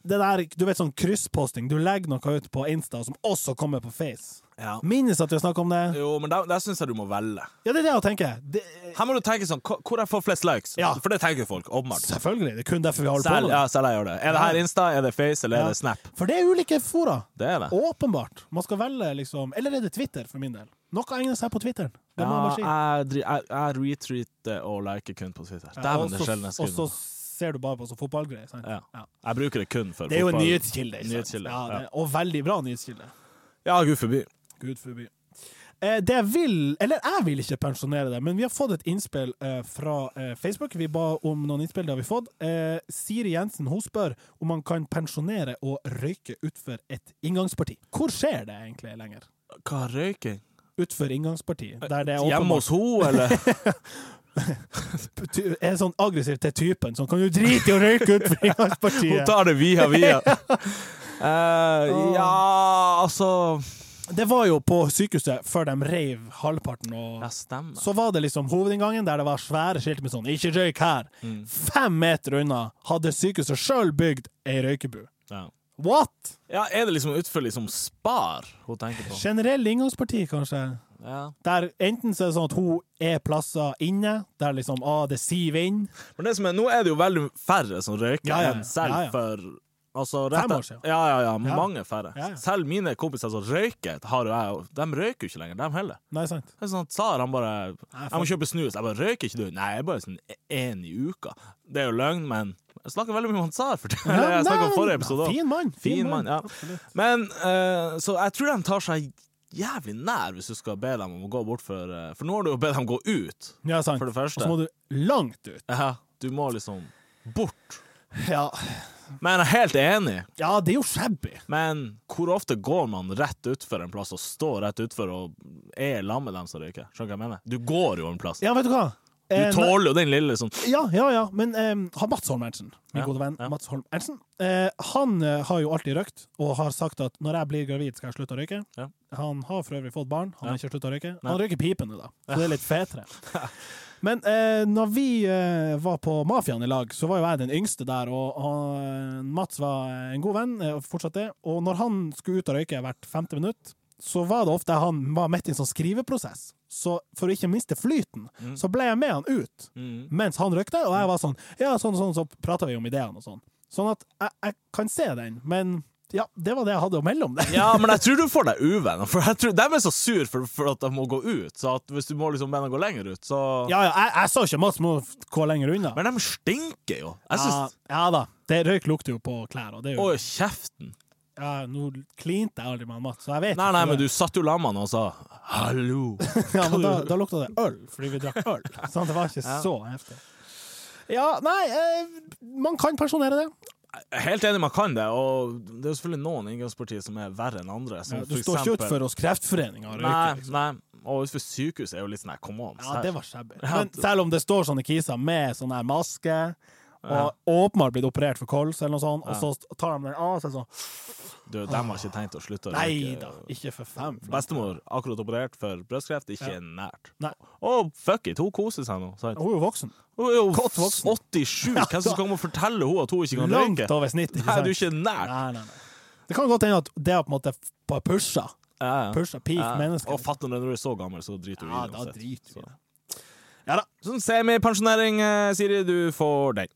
Speaker 1: det der, du vet sånn kryssposting, du legger noe ut på Insta som også kommer på Face.
Speaker 2: ja.
Speaker 1: Minnes at vi har snakka om det?
Speaker 2: Jo, men der, der syns jeg du må velge.
Speaker 1: Ja, det er det jeg tenker. Det,
Speaker 2: Her må du tenke sånn hva- Hvor jeg får flest likes?
Speaker 1: Eh. Ja.
Speaker 2: For det tenker folk, åpenbart.
Speaker 1: selvfølgelig, det er kun derfor vi holder på
Speaker 2: Selv,
Speaker 1: med
Speaker 2: ja,
Speaker 1: det.
Speaker 2: selv jeg gjør det. Er det her Insta, er det Face, eller
Speaker 1: Ja.
Speaker 2: er det Snap?
Speaker 1: For det er ulike fora.
Speaker 2: Det er det.
Speaker 1: Åpenbart. Man skal velge, liksom. Eller er det Twitter, for min del? Noe egner seg på Twitteren. Det må man bare si.
Speaker 2: jeg, dri- jeg, jeg retreater og liker kun på Twitter. Dæven, det er sjelden jeg
Speaker 1: og så
Speaker 2: skriver.
Speaker 1: ser du bare på sånn fotballgreier. sant?
Speaker 2: Ja.
Speaker 1: Ja.
Speaker 2: Jeg bruker det kun for
Speaker 1: Det er jo en
Speaker 2: fotball.
Speaker 1: nyhetskilde. ikke sant?
Speaker 2: Nyhetskilde,
Speaker 1: Ja, det, og veldig bra nyhetskilde.
Speaker 2: Ja, gud forby.
Speaker 1: Gud forby. Eh, det jeg vil, eller jeg vil ikke pensjonere det, men vi har fått et innspill eh, fra eh, Facebook. Vi ba om noen innspill, det har vi fått. Eh, Siri Jensen hun spør om man kan pensjonere og røyke utfor et inngangsparti. Hvor skjer det egentlig lenger?
Speaker 2: Hva er røyking?
Speaker 1: Utfor inngangsparti, der det er
Speaker 2: Hjemme
Speaker 1: åpenbart
Speaker 2: hos ho, eller?
Speaker 1: ty- er sånn aggressiv til typen. Sånn, kan du drite i å røyke ut for
Speaker 2: Hun
Speaker 1: inngangspartiet?
Speaker 2: tar det via via. Eh, ja, altså
Speaker 1: Det var jo på sykehuset før de reiv halvparten. Og,
Speaker 2: Ja, stemmer.
Speaker 1: så var det liksom hovedinngangen der det var svære skilt med sånn 'ikke røyk her'.
Speaker 2: Mm.
Speaker 1: Fem meter unna hadde sykehuset sjøl bygd ei røykebu.
Speaker 2: Ja.
Speaker 1: What?!
Speaker 2: ja, er det liksom utfor liksom Spar hun tenker på?
Speaker 1: Generell inngangsparti, kanskje.
Speaker 2: Ja.
Speaker 1: Der enten så er det sånn at hun er plasser inne, der liksom ah, det siver inn.
Speaker 2: Men det som er, nå er det jo veldig færre som røyker
Speaker 1: Ja, ja, ja.
Speaker 2: enn selv
Speaker 1: Ja, ja.
Speaker 2: for Altså,
Speaker 1: Fem
Speaker 2: rett-
Speaker 1: år siden.
Speaker 2: Ja, ja, ja.
Speaker 1: Ja.
Speaker 2: Mange færre.
Speaker 1: Ja, ja.
Speaker 2: Selv mine kompiser som røyker, har jo jeg, de røyker jo ikke lenger, de heller.
Speaker 1: Nei, sant?
Speaker 2: Det er sånn at Sar han bare
Speaker 1: Nei,
Speaker 2: 'Jeg må kjøpe snus.' Jeg bare 'Røyker ikke du?' Nei, jeg er bare sånn én i uka. Det er jo løgn, men jeg snakker veldig mye om han Sar, for det
Speaker 1: Ja,
Speaker 2: jeg snakket om
Speaker 1: nei,
Speaker 2: forrige episode òg.
Speaker 1: Fin mann.
Speaker 2: Fin mann, ja.
Speaker 1: absolutt.
Speaker 2: Men eh, Så jeg tror de tar seg jævlig nær hvis du skal be dem om å gå bort for eh, For nå har du jo bedt dem gå ut,
Speaker 1: Ja, sant.
Speaker 2: for det
Speaker 1: Og så
Speaker 2: første.
Speaker 1: må du langt ut.
Speaker 2: Ja, du må liksom bort.
Speaker 1: Ja,
Speaker 2: Men jeg er helt enig.
Speaker 1: ja det er jo shabby.
Speaker 2: Men hvor ofte går man rett utfor en plass og står rett utfor og er lam med dem som røyker? Skjønner du hva jeg mener? Du går jo en plass.
Speaker 1: Ja, vet du hva?
Speaker 2: Du
Speaker 1: Eh,
Speaker 2: tåler jo den lille sånn
Speaker 1: Ja, ja, ja. Men eh, han Mats Holm Erntzen, min
Speaker 2: Ja,
Speaker 1: gode venn
Speaker 2: ja.
Speaker 1: Mats Holm Erntzen, eh, han eh, har jo alltid røykt og har sagt at når jeg blir gravid, skal jeg slutte å røyke.
Speaker 2: Ja.
Speaker 1: Han har for øvrig fått barn, han har ikke sluttet å røyke.
Speaker 2: Nei.
Speaker 1: Han røyker pipene, da, så det er litt fetere. Men eh, når vi eh, var på Mafiaen i lag, så var jo jeg den yngste der, og han- Mats var en god venn, eh, og fortsatt det. Og når han skulle ut og røyke hvert femte minutt, så var det ofte han var midt i en sånn skriveprosess. Så for å ikke miste flyten, så ble jeg med han ut
Speaker 2: mm.
Speaker 1: mens han røykte, og jeg var sånn Ja, sånn sånn, så prata vi om ideene og sånn. Sånn at jeg, jeg kan se den, men ja, det var det jeg hadde å melde om det.
Speaker 2: Ja, men jeg tror du får deg uvenner, for jeg tror de er så sur for, for at de må gå ut. Så at hvis du må liksom be dem gå lenger ut, så
Speaker 1: Ja, ja, jeg, jeg så ikke Mats må f- gå lenger unna.
Speaker 2: Men de stinker jo. Jeg
Speaker 1: ja,
Speaker 2: syns
Speaker 1: ja da. Det røyk lukter jo på klær, og det er
Speaker 2: Å,
Speaker 1: jo
Speaker 2: kjeften.
Speaker 1: ja, Nå klinte jeg aldri med han Mats, så jeg vet
Speaker 2: Nei, nei, men
Speaker 1: ikke.
Speaker 2: du satt jo lammene og sa 'hallo'.
Speaker 1: ja, men da, da lukta det øl, fordi vi drakk øl. Sånn, det var ikke så heftig. Ja, nei, eh, man kan pensjonere det.
Speaker 2: Helt enig, man kan det, og det er jo selvfølgelig noen inngangspartier som er verre enn andre. Som
Speaker 1: Du står
Speaker 2: for
Speaker 1: ikke
Speaker 2: eksempel-
Speaker 1: utenfor hos Kreftforeninga og røyker.
Speaker 2: Nei, nei. Og utenfor sykehuset er jo litt sånn her, come on.
Speaker 1: liksom. Ja, det var shabby.
Speaker 2: Ja,
Speaker 1: Men
Speaker 2: det-
Speaker 1: selv om det står sånne kiser med sånn her maske, og åpenbart blitt operert for kols eller noe sånt, og så tar de den av seg sånn
Speaker 2: Du, de har ikke tenkt å slutte å
Speaker 1: Nei da, ikke for fem. flate.
Speaker 2: Bestemor akkurat operert for brystkreft, ikke nært.
Speaker 1: Nei.
Speaker 2: Og fuck it, hun koser seg nå. Sant?
Speaker 1: Hun er jo voksen.
Speaker 2: Hun er jo
Speaker 1: Godt voksen.
Speaker 2: 87, hvem som skal fortelle henne at hun ikke kan
Speaker 1: Langt
Speaker 2: røyke?
Speaker 1: over snittet.
Speaker 2: Nei, du er ikke nært.
Speaker 1: Nei, nei, nei. Det kan godt hende at det er på en måte på pusha.
Speaker 2: Ja, ja.
Speaker 1: Pusha, peak
Speaker 2: Ja.
Speaker 1: mennesker.
Speaker 2: Og fatter når du er så gammel, så driter du
Speaker 1: ja,
Speaker 2: i det
Speaker 1: da
Speaker 2: uansett.
Speaker 1: driter vi i det.
Speaker 2: Sånn semipensjonering, eh, Siri, du får den.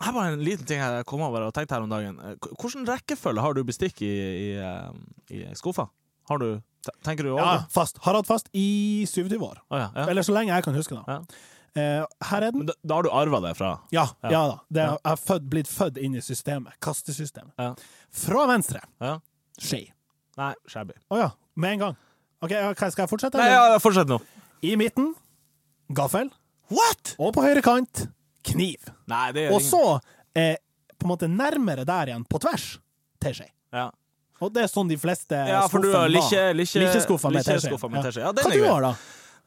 Speaker 2: Her var en liten ting jeg kom over og tenkte her om dagen. Eh, k- Hvordan rekkefølge har du bestikk i, i, eh, i skuffa? Har du te- Tenker du over
Speaker 1: Ja,
Speaker 2: det?
Speaker 1: fast. Har hatt fast i 27 år.
Speaker 2: Å, ja, ja.
Speaker 1: Eller så lenge jeg kan huske, da. Eh, Her er den.
Speaker 2: Men da, da har du arva det fra
Speaker 1: Ja,
Speaker 2: Ja.
Speaker 1: ja. da. Det er, jeg har født, blitt fødd inn i systemet. Kastesystemet.
Speaker 2: Ja.
Speaker 1: Fra venstre.
Speaker 2: Ja.
Speaker 1: Skje.
Speaker 2: Nei, shabby.
Speaker 1: Å ja, med en gang. Ok, ja, hva- Skal jeg fortsette?
Speaker 2: Nei,
Speaker 1: eller?
Speaker 2: ja, ja, fortsett nå.
Speaker 1: I midten gaffel,
Speaker 2: What?!
Speaker 1: og på høyre kant kniv.
Speaker 2: Nei, det er
Speaker 1: Og
Speaker 2: ingen-
Speaker 1: så, eh, på en måte nærmere der igjen, på tvers, teskje.
Speaker 2: Ja.
Speaker 1: Og det er sånn de fleste
Speaker 2: ja, for du har like, like,
Speaker 1: Likkeskuffa med teskje.
Speaker 2: skuffa med teskje. Ja, den
Speaker 1: Hva
Speaker 2: er
Speaker 1: du
Speaker 2: grei.
Speaker 1: har da?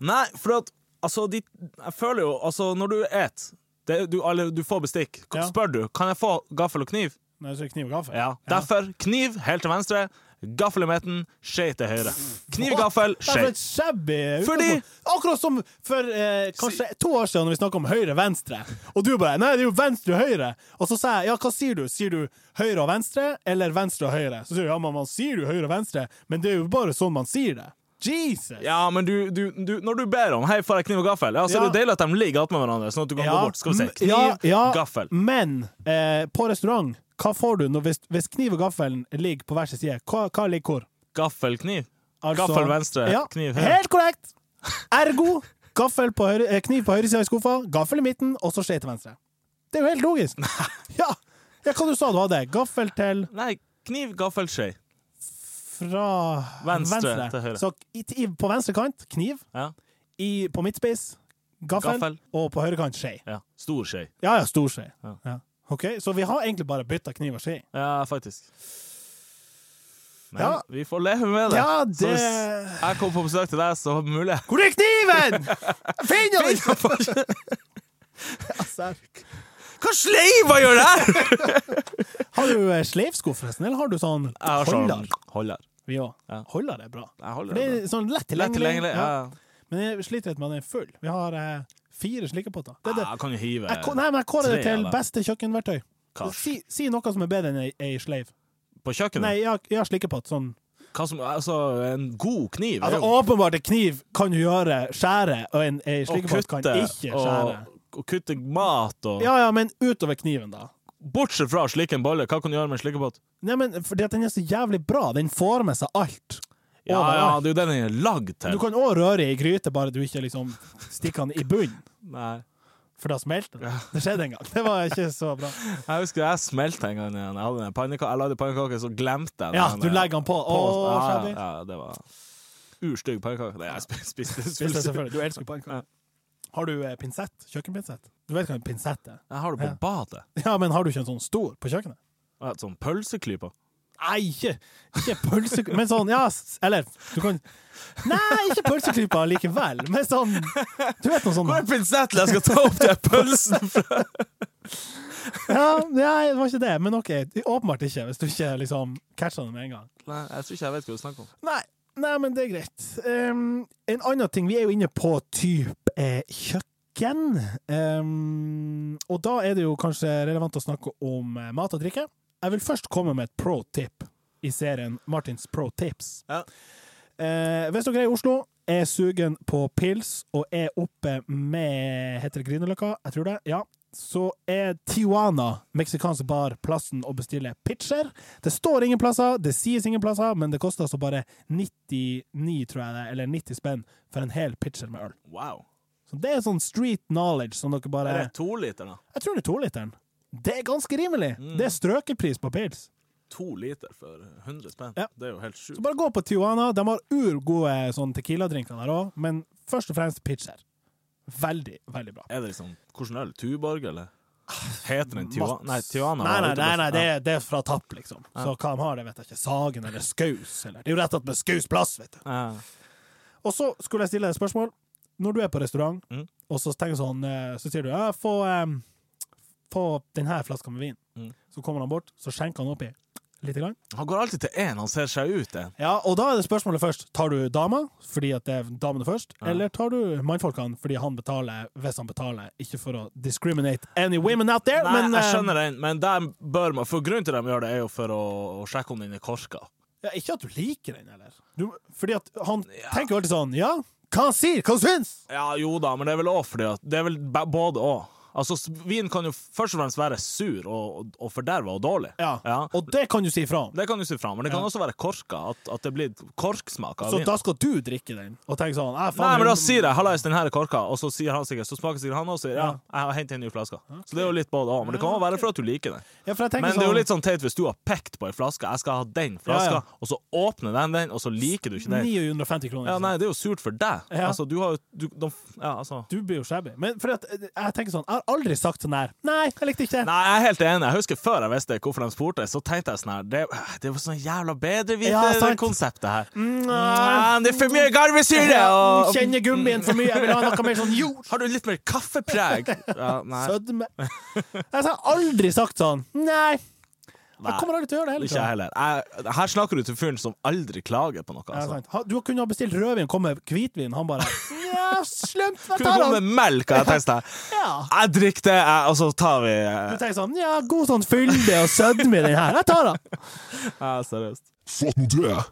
Speaker 2: Nei, for at Altså, de, jeg føler jo Altså, når du et det, du, eller, du får bestikk. K-
Speaker 1: Ja.
Speaker 2: Spør du kan jeg få gaffel og kniv.
Speaker 1: Nei, så er det kniv og gaffel.
Speaker 2: Ja. Derfor kniv helt til venstre, gaffel i midten, skje til høyre. Kniv,
Speaker 1: What?
Speaker 2: gaffel,
Speaker 1: Det er for
Speaker 2: skje.
Speaker 1: et shabby utgangspunkt.
Speaker 2: Fordi-
Speaker 1: Akkurat som for eh, kanskje to år siden når vi snakket om høyre-venstre, og du bare 'nei, det er jo venstre og høyre', og så sa jeg 'ja, hva sier du'? Sier du høyre og venstre, eller venstre og høyre? Så sier du 'ja, men man sier jo høyre og venstre', men det er jo bare sånn man sier det. Jesus!
Speaker 2: Ja, men du, du, du Når du ber om 'hei, får jeg kniv og gaffel', ja, så er det jo
Speaker 1: Ja.
Speaker 2: deilig at de ligger attmed hverandre, sånn at du kan gå
Speaker 1: Ja,
Speaker 2: bort. Skal vi se.
Speaker 1: m-
Speaker 2: Kniv,
Speaker 1: ja, ja,
Speaker 2: gaffel.
Speaker 1: Men eh, på restaurant, hva får du når, hvis, hvis kniv og gaffelen ligger på hver sin side? Hva, hva ligger hvor?
Speaker 2: Gaffel, kniv.
Speaker 1: Altså-
Speaker 2: Gaffel venstre, kniv høyre.
Speaker 1: Helt korrekt! Ergo gaffel på høyre, eh, kniv på høyre side i skuffa, gaffel i midten, og så skje til venstre. Det er jo helt logisk. Ja. ja, hva du sa du hadde? Gaffel til
Speaker 2: Nei, kniv, gaffel, skje.
Speaker 1: fra
Speaker 2: Venstre
Speaker 1: venstre.
Speaker 2: til høyre.
Speaker 1: Så i, i, på venstre kant kniv,
Speaker 2: Ja.
Speaker 1: i, på midtspiss gaffel,
Speaker 2: Gaffel.
Speaker 1: og på høyre kant skje.
Speaker 2: ja. Stor skje.
Speaker 1: Ja ja, stor skje.
Speaker 2: Ja.
Speaker 1: Ja. OK, så vi har egentlig bare bytta kniv og skje.
Speaker 2: Ja, faktisk. Men
Speaker 1: Ja.
Speaker 2: vi får leve med det.
Speaker 1: Ja,
Speaker 2: Så hvis
Speaker 1: det-
Speaker 2: jeg kommer på besøk til deg, så er det mulig jeg
Speaker 1: Hvor er kniven?! Finn den! Altså,
Speaker 2: Hva sleiva gjør der?!
Speaker 1: Har du eh, sleivsko, forresten, eller har du sånn
Speaker 2: Jeg har sånn
Speaker 1: holder?
Speaker 2: holder.
Speaker 1: Vi òg.
Speaker 2: Ja.
Speaker 1: Holder er bra.
Speaker 2: Jeg
Speaker 1: For
Speaker 2: holder
Speaker 1: det
Speaker 2: det
Speaker 1: er sånn lett
Speaker 2: bra. Lett
Speaker 1: tilgjengelig.
Speaker 2: tilgjengelig. Ja.
Speaker 1: Men jeg sliter litt med at den er full. Vi har eh, fire slike potter. Det er det.
Speaker 2: Ah, Ja, Jeg kan jo hive
Speaker 1: Jeg, kå- nei, men jeg kårer det
Speaker 2: tre
Speaker 1: til
Speaker 2: av dem.
Speaker 1: beste kjøkkenverktøy.
Speaker 2: Kars.
Speaker 1: Si, si noe som er bedre enn ei, ei sleiv.
Speaker 2: på kjøkkenet.
Speaker 1: Nei, jeg har, jeg har slikkepott. Sånn
Speaker 2: Hva som, altså, en god kniv er
Speaker 1: Altså,
Speaker 2: jo
Speaker 1: åpenbart, en kniv kan jo gjøre skjære, og en, en
Speaker 2: å
Speaker 1: slikkebåt kan
Speaker 2: kutte
Speaker 1: ikke
Speaker 2: og,
Speaker 1: skjære.
Speaker 2: og kutte mat og
Speaker 1: Ja, ja, men utover kniven, da.
Speaker 2: Bortsett fra å slikke en bolle, hva kan du gjøre med en slikkebåt?
Speaker 1: Nei, men fordi at den er så jævlig bra. Den får med seg alt.
Speaker 2: Ja,
Speaker 1: Overalt.
Speaker 2: ja, det er jo den den er lagd
Speaker 1: Du
Speaker 2: til.
Speaker 1: kan òg røre i gryte, bare du ikke liksom stikker den i bunnen,
Speaker 2: Nei.
Speaker 1: for da smelter den. Det skjedde en gang. Det var ikke så bra.
Speaker 2: Jeg husker jeg smelte en gang igjen. Jeg, hadde en panneka jeg lagde pannekaker, så glemte jeg
Speaker 1: Ja, du
Speaker 2: den der
Speaker 1: legger den på. Å,
Speaker 2: ja,
Speaker 1: shabby.
Speaker 2: ja, ja, det var urstygg pannekake. Det jeg sp- spiste.
Speaker 1: Spiste jeg selvfølgelig. Du elsker jo
Speaker 2: Ja.
Speaker 1: pannekaker. Har du eh, pinsett? Kjøkkenpinsett? Du vet hva en pinsett er?
Speaker 2: Jeg har det på
Speaker 1: Ja.
Speaker 2: badet.
Speaker 1: Ja, men har du ikke en sånn stor på kjøkkenet?
Speaker 2: Jeg har et sånn pølseklype.
Speaker 1: Nei, ikke, ikke pølse... Men sånn, ja, s- eller du kan Nei, ikke pølseklypa likevel, men sånn Du vet noe sånn
Speaker 2: Hvor er pinsetten jeg skal ta opp den pølsen fra?
Speaker 1: ja, Nei, det var ikke det, men OK. Åpenbart ikke, hvis du ikke liksom catcher det med en gang.
Speaker 2: Nei, jeg tror ikke jeg vet hva du snakker om.
Speaker 1: Nei, nei men det er greit. Ehm, en annen ting, vi er jo inne på type eh, kjøkken. Ehm, og da er det jo kanskje relevant å snakke om eh, mat og drikke. Jeg vil først komme med et pro tip i serien Martins pro tips.
Speaker 2: Ja.
Speaker 1: Eh, hvis dere er i Oslo, er sugen på pils og er oppe med Heter det Grünerløkka? Jeg tror det. Ja. Så er Tijuana, meksikansk bar, plassen å bestille pitcher. Det står ingen plasser, det sies ingen plasser, men det koster altså bare 99, tror jeg det, er, eller 90 spenn for en hel pitcher med øl.
Speaker 2: Wow.
Speaker 1: Så det er sånn street knowledge som dere bare
Speaker 2: Er det toliter, da?
Speaker 1: Jeg tror det er toliteren. Det er ganske rimelig!
Speaker 2: Mm.
Speaker 1: Det er strøkepris på pils.
Speaker 2: To liter for 100 spenn?
Speaker 1: Ja.
Speaker 2: Det er jo helt
Speaker 1: Så
Speaker 2: sjukt.
Speaker 1: bare gå på Tijuana. De har urgode sånn tequila-drinker der òg, men først og fremst pitcher. Veldig, veldig bra.
Speaker 2: Er det liksom Hvordan øl? Tuborg, eller? Heter den Tijuana? Nei, Tijuana
Speaker 1: Ah, nei,
Speaker 2: var
Speaker 1: nei,
Speaker 2: ute på-
Speaker 1: nei, nei det,
Speaker 2: Ja.
Speaker 1: er, det er fra Tapp, liksom. Så hva de har, det vet jeg ikke. Sagen eller Skaus. Eller. Det er jo rett og slett med Skaus plass, vet du.
Speaker 2: Ja.
Speaker 1: Og så skulle jeg stille deg et spørsmål. Når du er på restaurant,
Speaker 2: Mm.
Speaker 1: og så tenker sånn, eh, så sier du ja, få, em, få denne flaska med vin.
Speaker 2: Mm.
Speaker 1: Så kommer han bort, så skjenker han oppi lite grann.
Speaker 2: Han går alltid til én, han ser seg ut en.
Speaker 1: Ja, og da er det spørsmålet først. Tar du dama, fordi at det er damene først,
Speaker 2: Ja.
Speaker 1: eller tar du mannfolkene fordi han betaler, hvis han betaler, ikke for å discriminate any women out there,
Speaker 2: Nei,
Speaker 1: men
Speaker 2: jeg
Speaker 1: eh,
Speaker 2: skjønner den, men der bør man For grunnen til at de gjør det, er jo for å, å sjekke om den er korka.
Speaker 1: ja, ikke at du liker den, eller? Du, fordi at han tenker jo alltid sånn, ja, hva han sier, hva han syns?
Speaker 2: Ja, jo da, men det er vel også fordi at Det er vel ba- både òg. Altså, s- vin kan jo først og fremst være sur og, og- og forderva og dårlig.
Speaker 1: Ja. og det kan du si ifra om.
Speaker 2: Det kan du si fra, men det kan
Speaker 1: Ja.
Speaker 2: også være korka. At, at det blir korksmak av
Speaker 1: Så
Speaker 2: vin.
Speaker 1: da skal du drikke den, og tenke sånn, eh, faen.
Speaker 2: Nei, men
Speaker 1: hun-
Speaker 2: da sier jeg 'hallais, den her er korka', og så sier han sikkert Så smaker sikkert han også, og sier 'ja,
Speaker 1: Ja.
Speaker 2: jeg har hentet en ny flaske'. Så det er jo litt både òg, men det kan også være for at du liker den.
Speaker 1: Ja, for jeg tenker
Speaker 2: Men det er jo
Speaker 1: sånn-
Speaker 2: litt sånn teit hvis du har pekt på ei flaske, jeg skal ha den
Speaker 1: Ja,
Speaker 2: flaska,
Speaker 1: ja.
Speaker 2: og så åpner den den, og så liker du ikke den.
Speaker 1: 950 kroner.
Speaker 2: Ja,
Speaker 1: liksom.
Speaker 2: nei, det er jo surt for deg.
Speaker 1: Ja.
Speaker 2: Altså, du har jo du, de, Ja, altså.
Speaker 1: Du blir jo shabby. Men fordi at, eh, jeg tenker sånn, jeg har aldri sagt sånn her, nei, jeg likte ikke det.
Speaker 2: Nei, jeg er helt enig. Jeg husker før jeg visste hvorfor de spurte, så tenkte jeg sånn her Det, det var sånn jævla
Speaker 1: Ja, sant. Mm,
Speaker 2: bedreviter-konseptet her. Nei, det er for mye garvesyre!
Speaker 1: Jeg
Speaker 2: Og
Speaker 1: kjenner gummien for mye, jeg vil ha noe mer sånn jord.
Speaker 2: har du litt mer kaffepreg? Ja, nei.
Speaker 1: Sødme. Jeg har aldri sagt sånn. Nei.
Speaker 2: Nei.
Speaker 1: Jeg kommer aldri til å gjøre det heller.
Speaker 2: Ikke jeg heller. Jeg, her snakker du til fyren som aldri klager på noe.
Speaker 1: Ja,
Speaker 2: Altså.
Speaker 1: sant. Ha- Du kunne ha bestilt rødvin, kom med hvitvin. Han bare Ja, slemt, jeg
Speaker 2: Kunne
Speaker 1: tar
Speaker 2: komme
Speaker 1: den.
Speaker 2: med melk, har jeg tenkt. sånn her.
Speaker 1: Ja.
Speaker 2: Jeg drikker det, jeg- og så tar vi
Speaker 1: Du
Speaker 2: eh,
Speaker 1: tenker sånn Ja, god sånn fylde og sødme i den her. Jeg tar den.
Speaker 2: Ja, seriøst.
Speaker 3: Fatt nå det!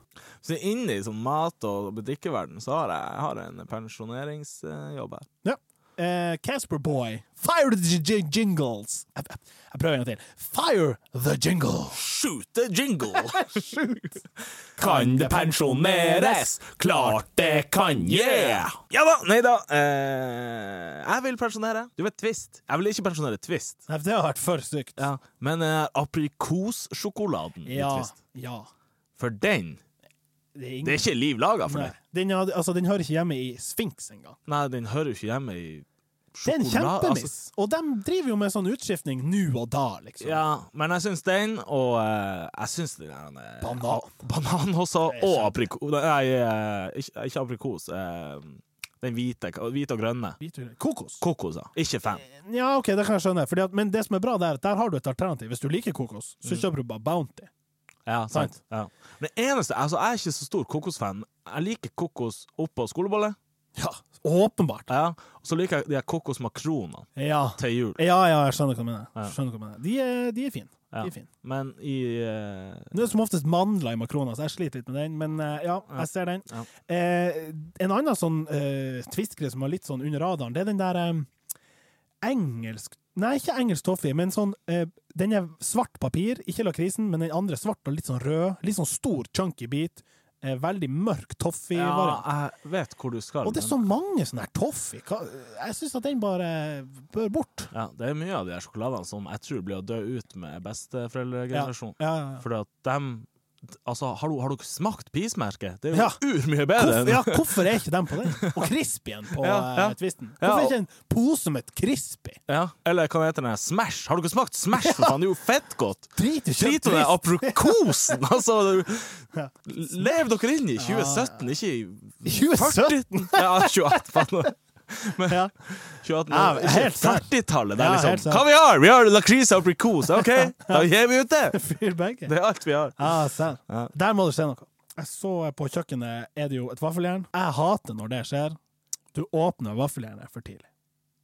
Speaker 2: Så inne i sånn mat- og drikkeverden så har jeg, jeg har en pensjoneringsjobb her.
Speaker 1: Ja. Eh, Casper Boy, fire the j- j- jingles. Jeg, jeg- jeg prøver en gang til. Fire the jingle.
Speaker 2: Shoot the jingle! Kan det pensjoneres? Klart det kan, yeah! Ja da, nei da. Eh, jeg vil pensjonere. Du vet Twist. Jeg vil ikke pensjonere Twist.
Speaker 1: Nei, Det har vært for stygt.
Speaker 2: Ja. Men eh, aprikossjokoladen i
Speaker 1: Ja.
Speaker 2: Twist,
Speaker 1: ja.
Speaker 2: for den
Speaker 1: Det er ingen
Speaker 2: Det er ikke liv laga for
Speaker 1: Nei.
Speaker 2: det.
Speaker 1: Den, hadde- altså, den hører ikke hjemme i Sphinx engang.
Speaker 2: Nei, den hører jo ikke hjemme i
Speaker 1: Det er en
Speaker 2: sjokolade- altså.
Speaker 1: kjempemiss. Og de driver jo med sånn utskiftning nå og da, liksom.
Speaker 2: ja, men jeg syns den, og eh, jeg syns den der eh,
Speaker 1: Banan.
Speaker 2: banan også,
Speaker 1: Det er
Speaker 2: og
Speaker 1: kjempe.
Speaker 2: aprikos Nei, eh, ikke, ikke aprikos. eh, den hvite, hvite og grønne.
Speaker 1: Hvitrød- Kokos.
Speaker 2: Kokos, ja. Ikke fan.
Speaker 1: Ja, OK, det kan jeg skjønne. Fordi at, men det som er bra, det er at der har du et alternativ. Hvis du liker kokos, så
Speaker 2: Mm.
Speaker 1: kjøper du bare Bounty.
Speaker 2: Ja,
Speaker 1: Sant.
Speaker 2: sant. Ja. Men det eneste, altså, jeg er ikke så stor kokosfan. Jeg liker kokos oppå skolebolle.
Speaker 1: Ja, Åpenbart.
Speaker 2: Ja. Og så liker jeg de her kokosmakronene
Speaker 1: Ja.
Speaker 2: til jul.
Speaker 1: ja, ja, jeg skjønner hva du mener.
Speaker 2: Ja.
Speaker 1: Skjønner hva du mener. De, er, de er fine.
Speaker 2: Ja.
Speaker 1: De er fine.
Speaker 2: Men i eh,
Speaker 1: Det er som oftest mandler i makroner, så jeg sliter litt med den. Men eh, ja,
Speaker 2: Ja.
Speaker 1: jeg ser den.
Speaker 2: Ja.
Speaker 1: Eh, en annen sånn eh, tvistgreie som var litt sånn under radaren, det er den der eh, engelsk Nei, ikke engelsk toffee, men sånn eh, Den er svart papir, ikke lakrisen, men den andre er svart og litt sånn rød. Litt sånn stor, chunky bit. Eh, veldig mørk toffee-variant.
Speaker 2: Ja, jeg vet hvor du skal.
Speaker 1: Og det er
Speaker 2: men-
Speaker 1: så mange sånne her toffee. Hva- Jeg syns at den bare bør bort.
Speaker 2: ja, det er mye av de her sjokoladene som jeg tror blir å dø ut med besteforeldregenerasjonen.
Speaker 1: Ja,
Speaker 2: Fordi at dem Altså, har du, har du smakt pismerket? Det er jo
Speaker 1: Ja.
Speaker 2: urmye bedre
Speaker 1: Hvorfor,
Speaker 2: enn
Speaker 1: ja, hvorfor er ikke den på den? Og Crispy igjen på
Speaker 2: Ja, ja.
Speaker 1: eh, Twisten.
Speaker 2: Ja,
Speaker 1: Hvorfor er
Speaker 2: og-
Speaker 1: ikke en pose med et Crispy?
Speaker 2: Ja. Eller hva heter den? her? Smash? Har dere smakt Smash? For faen, det er jo fett godt!
Speaker 1: Drit i
Speaker 2: Drit i den
Speaker 1: kjøttcrisp.
Speaker 2: aprikosen! Altså,
Speaker 1: Ja.
Speaker 2: lev dere inn i 2017, ikke i
Speaker 1: 2017?
Speaker 2: 40 Ja, 2018, faen. Men
Speaker 1: Ja.
Speaker 2: 2018,
Speaker 1: Ja,
Speaker 2: men
Speaker 1: men
Speaker 2: ikke
Speaker 1: helt sant.
Speaker 2: 40-tallet. Det
Speaker 1: Ja,
Speaker 2: er
Speaker 1: helt
Speaker 2: liksom
Speaker 1: sant.
Speaker 2: Hva vi har? Vi har lakris og aprikos! OK, da gir vi ut det!
Speaker 1: Fyr begge.
Speaker 2: Det er alt vi har.
Speaker 1: Ja, sant.
Speaker 2: Ja.
Speaker 1: Der må det skje noe. Jeg så eh, på kjøkkenet er det jo et vaffeljern. Jeg hater når det skjer. Du åpner vaffeljernet for tidlig.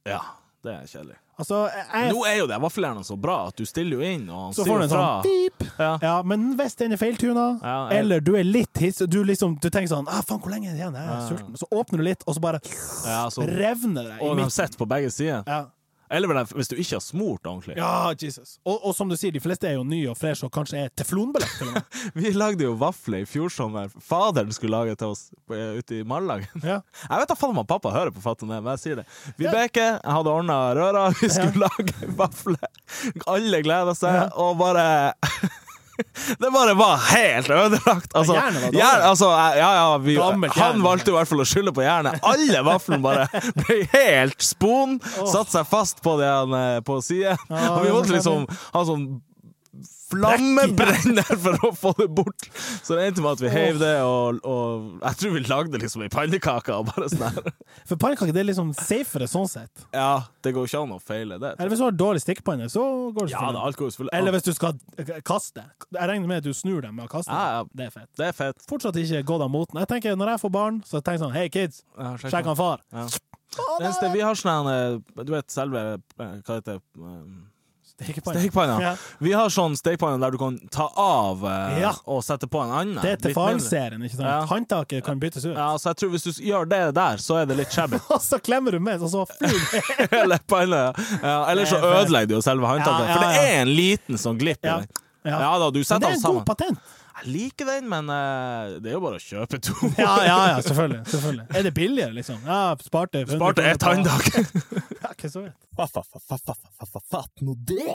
Speaker 2: Ja, det er kjedelig.
Speaker 1: Altså, jeg,
Speaker 2: Nå er jo det vaffeljernet så bra at du stiller jo inn, og han
Speaker 1: så får
Speaker 2: sier
Speaker 1: du en
Speaker 2: jo fra.
Speaker 1: sånn pip.
Speaker 2: Ja.
Speaker 1: Ja, men hvis den er feiltuna,
Speaker 2: Ja, jeg-
Speaker 1: eller du er litt hiss, du liksom, du tenker sånn ah, 'Faen, hvor lenge er det igjen? Jeg er
Speaker 2: Ja.
Speaker 1: sulten.' Så åpner du litt, og så bare
Speaker 2: Ja, så,
Speaker 1: revner det i
Speaker 2: og de
Speaker 1: midten.
Speaker 2: sitter på begge sider.
Speaker 1: Ja.
Speaker 2: Eller vel, hvis du ikke har smurt ordentlig.
Speaker 1: Ja, Jesus. Og, og som du sier, de fleste er jo nye og fresh og kanskje er teflonbelagt. til og med.
Speaker 2: Vi lagde jo vafler i fjor sommer. Faderen skulle lage til oss på- ute i Mallagen.
Speaker 1: Ja.
Speaker 2: Jeg vet da faen om han pappa hører på fatten det, men jeg sier det. Vibeke, jeg hadde ordna røra, vi skulle lage vafler. Alle gleda seg, og bare Det bare var helt ødelagt. Altså,
Speaker 1: Ja, hjernen var dårlig.
Speaker 2: hjern- altså, ja, ja, vi,
Speaker 1: Gammelt
Speaker 2: han
Speaker 1: hjerne.
Speaker 2: valgte i hvert fall å skylde på hjernen. Alle vaflene bare ble helt spon, satte seg fast på, det han, eh, på siden.
Speaker 1: Ja,
Speaker 2: og vi
Speaker 1: det er
Speaker 2: måtte liksom ha sånn flammebrenner for å få det bort. Så det endte med at vi heiv det, og, og jeg tror vi lagde liksom ei pannekake og bare sånn her.
Speaker 1: For pannekaker det er liksom safere sånn sett.
Speaker 2: Ja, det går ikke an å feile det.
Speaker 1: Eller hvis du har dårlig stekepanne, så går det
Speaker 2: Ja, det er
Speaker 1: selvfølgelig.
Speaker 2: alt går jo selvfølgelig
Speaker 1: Eller hvis du skal eh, kaste. Jeg regner med at du snur dem med å kaste.
Speaker 2: Ja, ja.
Speaker 1: Det er fett.
Speaker 2: Det er fett.
Speaker 1: Fortsatt ikke gått av moten. Jeg tenker, Når jeg får barn, så tenker jeg sånn Hei, kids,
Speaker 2: Ja, sjekk
Speaker 1: sjekk han far.
Speaker 2: Ja.
Speaker 1: Å,
Speaker 2: Det eneste vi har sånn her, eh, Du vet selve eh, Hva heter det? eh,
Speaker 1: Stekepanne.
Speaker 2: Stekepanna.
Speaker 1: Ja.
Speaker 2: Vi har sånn stekepanne der du kan ta av eh,
Speaker 1: Ja.
Speaker 2: og sette på en annen.
Speaker 1: Det er til
Speaker 2: litt mindre.
Speaker 1: faren-serien, ikke sant?
Speaker 2: Ja.
Speaker 1: Håndtaket kan byttes ut.
Speaker 2: Ja, så jeg tror hvis du gjør det der, så er det litt shabby.
Speaker 1: Og så klemmer du med, og så flyr den.
Speaker 2: Hele panna. eh, Ja, eller så
Speaker 1: Det er fett.
Speaker 2: ødelegger du jo selve håndtaket,
Speaker 1: Ja, ja,
Speaker 2: for det
Speaker 1: ja.
Speaker 2: er en liten sånn glipp i
Speaker 1: Ja,
Speaker 2: den.
Speaker 1: ja.
Speaker 2: Ja da, du
Speaker 1: Men
Speaker 2: setter
Speaker 1: det er
Speaker 2: den
Speaker 1: en god
Speaker 2: sammen.
Speaker 1: patent.
Speaker 2: Jeg liker den, men eh, det er jo bare å kjøpe to.
Speaker 1: Ja, ja, ja, selvfølgelig. selvfølgelig. Er det billigere, liksom? Ja, sparte 100
Speaker 2: Sparte
Speaker 1: kroner
Speaker 2: ett
Speaker 1: på-
Speaker 2: håndtak.
Speaker 1: Ja, ikke så vidt.
Speaker 3: Fatt nå det!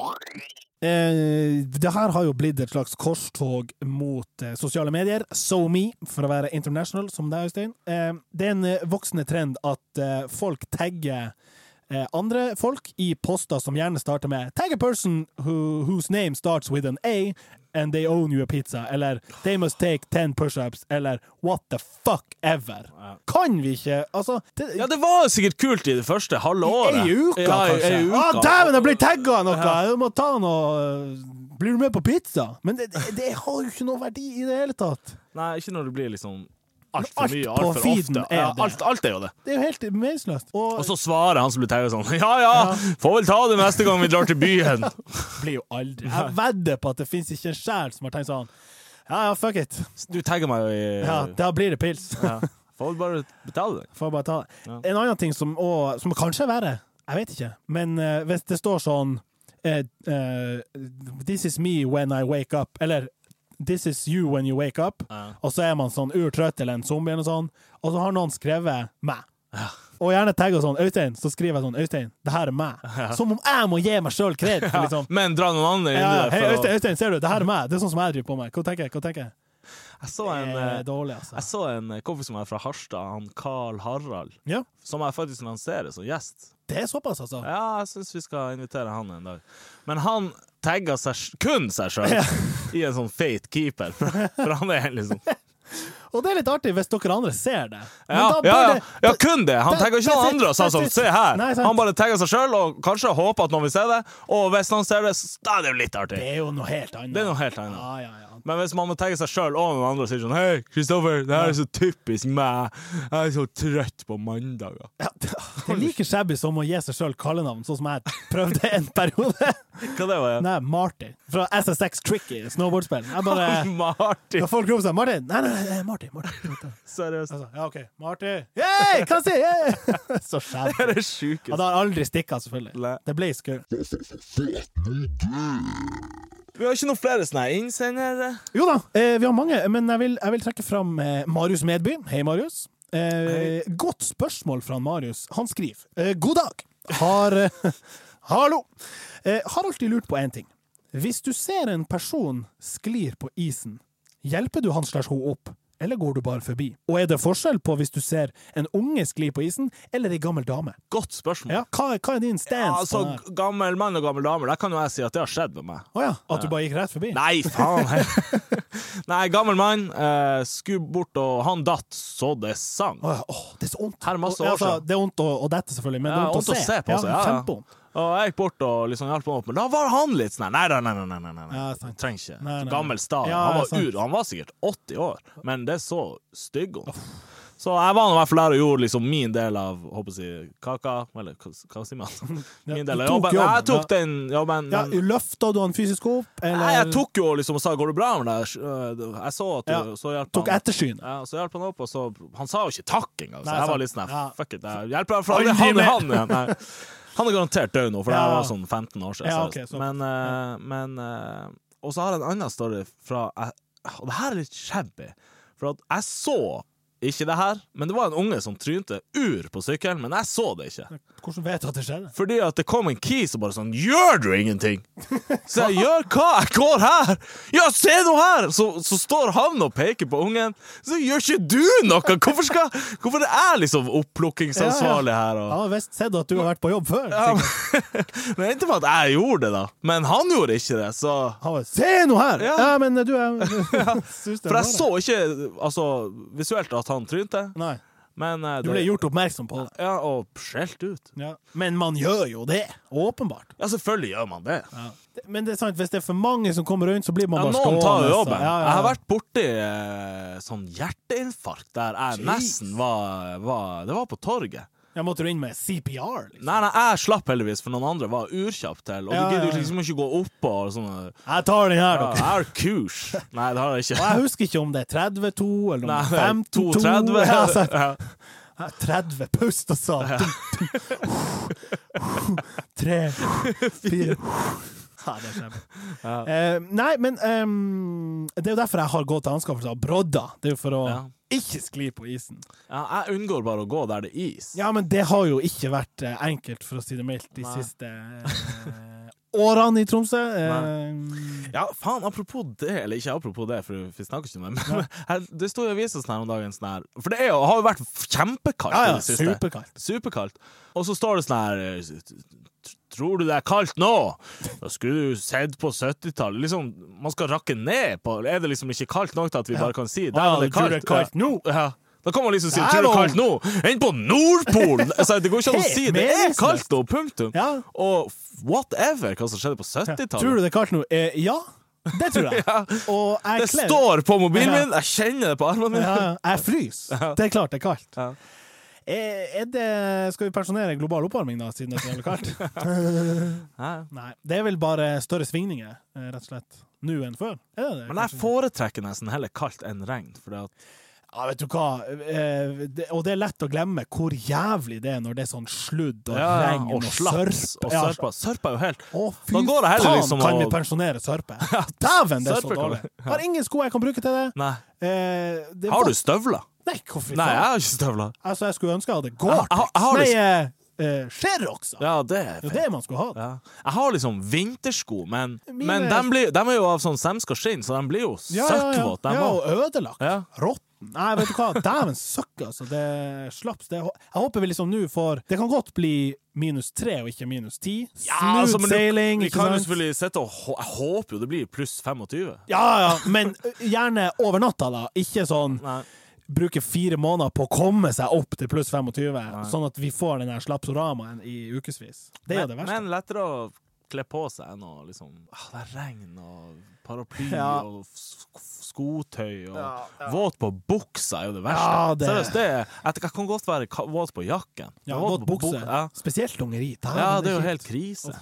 Speaker 1: Eh, det her har jo blitt et slags korstog mot eh, sosiale medier. SoMe, for å være international, som deg, Øystein. Eh, det er en eh, voksende trend at eh, folk tagger eh, andre folk i poster som gjerne starter med 'Tag a person who, whose name starts with an A, and they own you a pizza', eller 'They must take ten pushups', eller 'What the fuck ever'. Kan vi ikke Altså det,
Speaker 2: Ja, det var jo sikkert kult i det første halve året.
Speaker 1: Ei uke,
Speaker 2: ja, i-
Speaker 1: kanskje. Ah,
Speaker 2: Ei
Speaker 1: Å,
Speaker 2: uke.
Speaker 1: dæven, jeg blir tagga noe! Jeg må ta noe eh, Blir du med på pizza? Men det, det, det har jo ikke noe verdi i det hele tatt.
Speaker 2: Nei, ikke når det blir liksom altfor
Speaker 1: alt
Speaker 2: mye,
Speaker 1: på
Speaker 2: altfor
Speaker 1: feeden
Speaker 2: ofte.
Speaker 1: er
Speaker 2: Ja,
Speaker 1: det.
Speaker 2: alt, alt er jo det.
Speaker 1: Det er jo helt meningsløst. Og
Speaker 2: Og så svarer han som blir tagget sånn Ja ja, får vel ta det neste gang vi drar til byen.
Speaker 1: blir jo aldri Jeg vedder på at det fins ikke en sjel som har tenkt sånn Ja, ja, fuck it.
Speaker 2: Du tagger meg jo i
Speaker 1: Ja, da blir det pils.
Speaker 2: Ja. Får vel bare betale det.
Speaker 1: Får bare ta det.
Speaker 2: Ja.
Speaker 1: En annen ting som, og, som kanskje er verre, jeg vet ikke, men eh, hvis det står sånn eh, eh, This is me when I wake up, eller This is you when you wake up,
Speaker 2: Ja.
Speaker 1: og så er man sånn urtrøtt eller en zombie eller noe sånt, og så har noen skrevet meg. Og gjerne tagga sånn Øystein, så skriver jeg sånn Øystein, det her er meg. Som om jeg må gi meg sjøl kred. for Liksom.
Speaker 2: Men dra noen andre inn
Speaker 1: Ja,
Speaker 2: i
Speaker 1: ja,
Speaker 2: det.
Speaker 1: hei,
Speaker 2: for å-
Speaker 1: Øystein, Øystein, ser du, det her er meg. Det er sånn som jeg driver på med. Hva tenker jeg? Hva tenker jeg?
Speaker 2: Jeg så
Speaker 1: Det
Speaker 2: en
Speaker 1: er
Speaker 2: eh,
Speaker 1: dårlig,
Speaker 2: Jeg
Speaker 1: altså.
Speaker 2: så en eh, kompis som er fra Harstad, han Carl Harald,
Speaker 1: Ja,
Speaker 2: som jeg faktisk lanserer som gjest.
Speaker 1: det er såpass, altså.
Speaker 2: Ja, jeg syns vi skal invitere han en dag. Men han tagga seg, sj- kun seg sjøl i en sånn feit keeper, for, for han er liksom
Speaker 1: Og det er litt artig hvis dere andre ser det. Men
Speaker 2: Ja,
Speaker 1: da bør
Speaker 2: ja, ja.
Speaker 1: det-
Speaker 2: ja kun det! Han
Speaker 1: Det-
Speaker 2: tagga ikke
Speaker 1: det-
Speaker 2: noen andre og sa
Speaker 1: det-
Speaker 2: sånn,
Speaker 1: det-
Speaker 2: se her!
Speaker 1: Nei, sant.
Speaker 2: Han bare tagga seg sjøl, og kanskje håper at noen vil se det, og hvis noen ser det, så da er det jo litt artig.
Speaker 1: Det er jo noe helt annet.
Speaker 2: Det er noe helt annet.
Speaker 1: Ja, ja, ja.
Speaker 2: Men hvis man må tenke seg sjøl og noen andre og si sånn Hei, Kristoffer, det her er så typisk meg. Jeg er så trøtt på mandager.
Speaker 1: Ja, det det er like shabby som å gi seg sjøl kallenavn, sånn som jeg prøvde en periode.
Speaker 2: Hva det var
Speaker 1: Nei, Martin. Fra SSX Tricky, snowboardspill. Jeg bare
Speaker 2: Martin,
Speaker 1: Da folk roper seg 'Martin', nei, nei, nei, Martin. Martin.
Speaker 2: seriøst.
Speaker 1: Altså, ja, OK. Martin. Yay, hva sier jeg? Så
Speaker 2: Det
Speaker 1: skjedd.
Speaker 2: er det sjukeste.
Speaker 1: Ja, det har aldri stikka, selvfølgelig.
Speaker 2: Nei.
Speaker 1: Det ble skurr.
Speaker 2: Vi har ikke noen flere sånne her innsendere.
Speaker 1: Jo da, eh, vi har mange, men jeg vil, jeg vil trekke fram eh, Marius Medby. Hei, Marius. Eh, godt spørsmål fra Marius. Han skriver eh, God dag! Har eh, Hallo! Eh, har alltid lurt på én ting. Hvis du ser en person sklir på isen, hjelper du han slash hun opp, eller går du bare forbi? Og er det forskjell på hvis du ser en unge skli på isen, eller ei gammel dame?
Speaker 2: Godt spørsmål.
Speaker 1: Ja, hva, hva er din stance?
Speaker 2: Ja,
Speaker 1: på
Speaker 2: altså,
Speaker 1: det her?
Speaker 2: gammel mann og gammel dame, der kan jo jeg si at det har skjedd med meg.
Speaker 1: Å ja, at du bare gikk rett forbi?
Speaker 2: Nei, faen! Nei, gammel mann eh, skulle bort, og han datt så det sang.
Speaker 1: Å ja, åh, det er så vondt.
Speaker 2: Her er masse
Speaker 1: Og-
Speaker 2: år
Speaker 1: altså,
Speaker 2: siden.
Speaker 1: det er vondt å, å dette, selvfølgelig, men det
Speaker 2: Ja,
Speaker 1: er vondt å se.
Speaker 2: på seg, ja, ja.
Speaker 1: kjempevondt.
Speaker 2: Og jeg gikk bort og liksom hjalp han opp, men da var han litt sånn Nei, nei, nei, nei, nei, nei, nei.
Speaker 1: Ja, sant.
Speaker 2: trenger ikke.
Speaker 1: Nei, nei, nei.
Speaker 2: Gammel stad.
Speaker 1: Ja,
Speaker 2: han var
Speaker 1: sant.
Speaker 2: ur, han var sikkert 80 år, men det så stygg ut. Så jeg var nå i hvert fall der og gjorde liksom min del av håper jeg, å si, kaka, eller hva, hva sier man?
Speaker 1: Ja,
Speaker 2: Min
Speaker 1: du
Speaker 2: del av
Speaker 1: tok
Speaker 2: jobben.
Speaker 1: jobben,
Speaker 2: Jeg tok
Speaker 1: ja.
Speaker 2: den jobben.
Speaker 1: Ja,
Speaker 2: men-
Speaker 1: Løfta du han fysisk opp, eller
Speaker 2: Nei, jeg tok jo liksom og sa 'går det bra med deg?' Eh, Jeg så at du
Speaker 1: Ja,
Speaker 2: Så hjalp
Speaker 1: tok
Speaker 2: han.
Speaker 1: ettersyn?
Speaker 2: Ja, så hjalp han opp, og så Han sa jo ikke takk engang, så
Speaker 1: Nei,
Speaker 2: jeg var
Speaker 1: sant.
Speaker 2: litt sånn her,
Speaker 1: Ja.
Speaker 2: Fuck it, jeg hjelper deg, for han,
Speaker 1: Aldri
Speaker 2: han,
Speaker 1: mer.
Speaker 2: han, igjen. Nei. han er garantert død nå, for det her
Speaker 1: Ja.
Speaker 2: var sånn 15 år siden.
Speaker 1: Ja,
Speaker 2: seriøst.
Speaker 1: ok, så-
Speaker 2: men eh, men eh, Og så har jeg en annen story fra jeg- Og det her er litt shabby, for at jeg så ikke det her, men det var en unge som trynte ur på sykkelen, men jeg så det ikke.
Speaker 1: Hvordan vet du at det skjedde?
Speaker 2: Fordi at det kom en kis og bare sånn Gjør du ingenting? Så jeg gjør hva? Jeg går her! Ja, se nå her! Så, så står han og peker på ungen. Så gjør ikke du noe! Hvorfor, skal, hvorfor det er liksom opplukkingsansvarlig her?
Speaker 1: Jeg
Speaker 2: Og,
Speaker 1: har visst sett at du har vært på jobb før.
Speaker 2: ja, men det endte med at jeg gjorde det, da. Men han gjorde ikke det, så
Speaker 1: Han var, Se nå her! Ja,
Speaker 2: Ja.
Speaker 1: men du jeg, synes det
Speaker 2: For
Speaker 1: var
Speaker 2: jeg
Speaker 1: det.
Speaker 2: så ikke altså, visuelt at han trynte,
Speaker 1: Nei,
Speaker 2: men eh,
Speaker 1: Du ble
Speaker 2: det-
Speaker 1: gjort oppmerksom på det.
Speaker 2: Ja, og skjelt ut.
Speaker 1: Ja. Men man gjør jo det. Åpenbart.
Speaker 2: Ja, selvfølgelig gjør man det.
Speaker 1: Det- Men det er sant, hvis det er for mange som kommer rundt, så blir man
Speaker 2: Ja,
Speaker 1: bare
Speaker 2: noen
Speaker 1: stående.
Speaker 2: tar jo
Speaker 1: så-
Speaker 2: jobben.
Speaker 1: Ja, ja, ja.
Speaker 2: Jeg har vært borti eh, sånn hjerteinfarkt der jeg nesten var, var Det var på torget.
Speaker 1: Jeg måtte jo inn med CPR, liksom.
Speaker 2: Nei, nei, jeg slapp heldigvis, for noen andre var urkjappe til. Og
Speaker 1: Ja,
Speaker 2: du
Speaker 1: ja,
Speaker 2: gidder
Speaker 1: ja.
Speaker 2: liksom ikke gå oppå og sånne
Speaker 1: Jeg tar den her,
Speaker 2: ja,
Speaker 1: dere.
Speaker 2: Jeg har kurs. Nei, det har jeg
Speaker 1: Og
Speaker 2: ikke.
Speaker 1: jeg husker ikke om det er 32 eller om
Speaker 2: Nei,
Speaker 1: det
Speaker 2: det
Speaker 1: er
Speaker 2: er
Speaker 1: 52.
Speaker 2: 32.
Speaker 1: Ja, altså,
Speaker 2: Ja.
Speaker 1: Ja, 30 pust og sånn. Tre, fire Ja, det skjer.
Speaker 2: Ja.
Speaker 1: Eh, nei, men ehm, det er jo derfor jeg har gått til anskaffelse av brodder. Det er jo for å
Speaker 2: Ja.
Speaker 1: ikke skli på isen.
Speaker 2: Ja, jeg unngår bare å gå der det er is.
Speaker 1: Ja, men det har jo ikke vært eh, enkelt, for å si det mildt, de
Speaker 2: Nei.
Speaker 1: siste eh, årene i Tromsø. Eh,
Speaker 2: Ja, faen, apropos det, eller ikke apropos det, for vi snakker ikke om det, men her, det sto i avisen sånn her om dagen, sånn her, for det er jo, har jo vært kjempekaldt
Speaker 1: ja,
Speaker 2: i
Speaker 1: ja,
Speaker 2: det siste.
Speaker 1: superkaldt.
Speaker 2: Superkaldt. Og så står det sånn her eh, Tror du det er kaldt nå? Da skulle du sett på 70-tallet. Liksom, man skal rakke ned på Er det liksom ikke kaldt nok til at vi bare kan si Der
Speaker 1: Ja,
Speaker 2: er det
Speaker 1: du tror
Speaker 2: kaldt.
Speaker 1: det er kaldt
Speaker 2: Ja.
Speaker 1: nå?
Speaker 2: Ja. Da kan man liksom si
Speaker 1: Der
Speaker 2: Tror du det er
Speaker 1: var-
Speaker 2: kaldt nå? Enn på Nordpolen! Altså, det går ikke an å
Speaker 1: Helt
Speaker 2: si det er
Speaker 1: meningsløst.
Speaker 2: kaldt nå, punktum.
Speaker 1: Ja.
Speaker 2: Og whatever hva som skjedde på
Speaker 1: Tror
Speaker 2: 70-tallet.
Speaker 1: du det er kaldt nå? Eh, ja, det tror jeg. Og jeg
Speaker 2: Det
Speaker 1: kler-
Speaker 2: står på mobilen
Speaker 1: Ja.
Speaker 2: min, jeg kjenner det på armene mine.
Speaker 1: ja, ja. Jeg fryser. Det er klart det er kaldt.
Speaker 2: Ja.
Speaker 1: Er Eh, er det, skal vi pensjonere global oppvarming, da, siden det er så jævlig kaldt?
Speaker 2: Ja.
Speaker 1: Nei. Det er vel bare større svingninger, eh, rett og slett, nå enn før. Er det det?
Speaker 2: Men jeg
Speaker 1: kanskje?
Speaker 2: foretrekker nesten heller kaldt enn regn. Fordi at
Speaker 1: Ja, vet du hva, eh, det, og det er lett å glemme hvor jævlig det er når det er sånn sludd og regn og,
Speaker 2: og slaps
Speaker 1: sørp.
Speaker 2: og
Speaker 1: Ja,
Speaker 2: sørpa. Sørpa er jo helt
Speaker 1: Å, fy
Speaker 2: Da går det heller
Speaker 1: faen,
Speaker 2: liksom
Speaker 1: kan vi
Speaker 2: å-
Speaker 1: pensjonere sørpe? Dæven, det er så
Speaker 2: Sørpe kan
Speaker 1: dårlig.
Speaker 2: vi-
Speaker 1: Har ingen sko jeg kan bruke til det.
Speaker 2: Nei.
Speaker 1: Eh, det
Speaker 2: Har du støvler?
Speaker 1: Nei, hvorfor
Speaker 2: Nei, jeg
Speaker 1: faen?
Speaker 2: har ikke støvler.
Speaker 1: Altså, jeg skulle ønske jeg hadde
Speaker 2: Jeg- jeg- jeg har
Speaker 1: Gore-Tex. Nei, eh, eh, Sherox. da.
Speaker 2: Ja, det er
Speaker 1: Det er
Speaker 2: fint.
Speaker 1: det man skulle ha.
Speaker 2: Ja. Jeg har liksom vintersko, men,
Speaker 1: Mine-
Speaker 2: men de, blir, de er jo av sånn semsk og skinn, så de blir jo
Speaker 1: Ja,
Speaker 2: søkkvåte, de
Speaker 1: ja,
Speaker 2: òg.
Speaker 1: og ødelagt.
Speaker 2: Ja.
Speaker 1: Råtten. Nei, vet du hva. Dæven søkk, altså. Det slaps. Det. Jeg håper vi liksom nå får Det kan godt bli minus tre og ikke minus ti.
Speaker 2: altså, men
Speaker 1: Smooth
Speaker 2: du-
Speaker 1: sailing,
Speaker 2: Vi
Speaker 1: ikke
Speaker 2: kan jo
Speaker 1: sant?
Speaker 2: selvfølgelig sitte og hå- Jeg håper jo det blir pluss 25.
Speaker 1: Ja, ja, men gjerne over natta, da. Ikke sånn
Speaker 2: Nei.
Speaker 1: bruke fire måneder på å komme seg opp til pluss 25, sånn at vi får den her slapsoramaen i ukevis. Det er jo det verste.
Speaker 2: Men lettere å kle på seg noe liksom ah, Det er regn og paraply
Speaker 1: Ja.
Speaker 2: og sk skotøy og
Speaker 1: Ja, ja.
Speaker 2: Våt på buksa er jo det verste.
Speaker 1: Ja, det-
Speaker 2: Seriøst, det er, jeg, jeg kan godt være ka våt på jakken.
Speaker 1: Ja,
Speaker 2: Men
Speaker 1: våt
Speaker 2: på
Speaker 1: bukse.
Speaker 2: buk- Ja.
Speaker 3: Spesielt ungeri. Da,
Speaker 2: ja,
Speaker 3: men
Speaker 2: det er jo
Speaker 3: ikke-
Speaker 2: helt krise.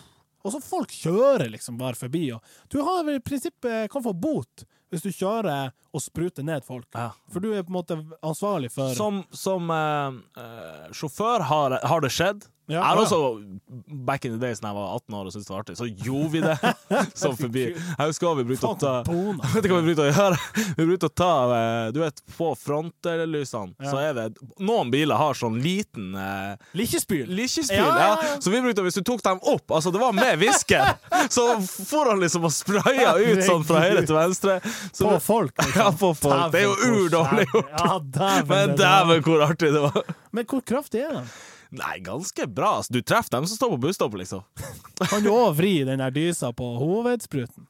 Speaker 1: Og så folk kjører liksom bare forbi. Og du har vel i prinsippet kan få bot hvis du kjører og spruter ned folk.
Speaker 2: Ja.
Speaker 1: For du er på en måte ansvarlig for
Speaker 2: Som, som eh, eh, sjåfør har, har det skjedd.
Speaker 1: Ja,
Speaker 2: jeg har
Speaker 1: ja.
Speaker 2: også, back in the days da jeg var 18 år og syntes det var artig, så gjorde vi det. Som forbi. Jeg husker hva vi brukte å ta
Speaker 1: Faen, kona.
Speaker 2: Vet du hva vi brukte å gjøre? Vi brukte å ta eh, Du vet, på frontlysene
Speaker 1: Ja.
Speaker 2: så er det Noen biler har sånn liten eh,
Speaker 1: Likkespyl!
Speaker 2: Likkespil,
Speaker 1: Ja,
Speaker 2: ja,
Speaker 1: ja, ja.
Speaker 2: Så vi brukte, hvis du tok dem opp, altså det var med visken, så for han liksom å spraye ut sånn fra høyre til venstre. Så
Speaker 1: På
Speaker 2: vi-
Speaker 1: folk. liksom.
Speaker 2: ja, på folk. Det er jo
Speaker 1: Dæven, hvor
Speaker 2: urdårlig
Speaker 1: skjært.
Speaker 2: gjort.
Speaker 1: Ja, dæven,
Speaker 2: Men
Speaker 1: det er-
Speaker 2: dæven, hvor artig det var!
Speaker 1: Men hvor kraftig er den?
Speaker 2: Nei, ganske bra. Altså, du treffer dem som står på busstoppet, liksom.
Speaker 1: Kan du òg vri den der dysa på hovedspruten?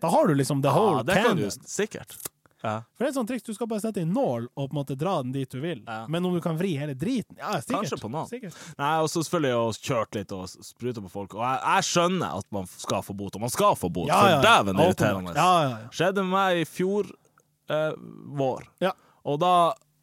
Speaker 1: Da har du liksom the whole
Speaker 2: Ja, det kan du
Speaker 1: cannon.
Speaker 2: sikkert. Ja.
Speaker 1: For det er et sånt triks, Du skal bare sette en nål og på en måte dra den dit du vil.
Speaker 2: Ja.
Speaker 1: Men om du kan vri hele driten Ja, sikkert.
Speaker 2: Kanskje på nål.
Speaker 1: Sikkert.
Speaker 2: Nei, og så selvfølgelig å kjørt litt og spruta på folk. Og jeg, jeg skjønner at man skal få bot, og man skal få bot,
Speaker 1: Ja, ja, ja.
Speaker 2: for dæven det er
Speaker 1: Åpenbart.
Speaker 2: irriterende.
Speaker 1: Ja, ja, ja.
Speaker 2: Skjedde med meg i fjor eh, vår.
Speaker 1: Ja.
Speaker 2: Og da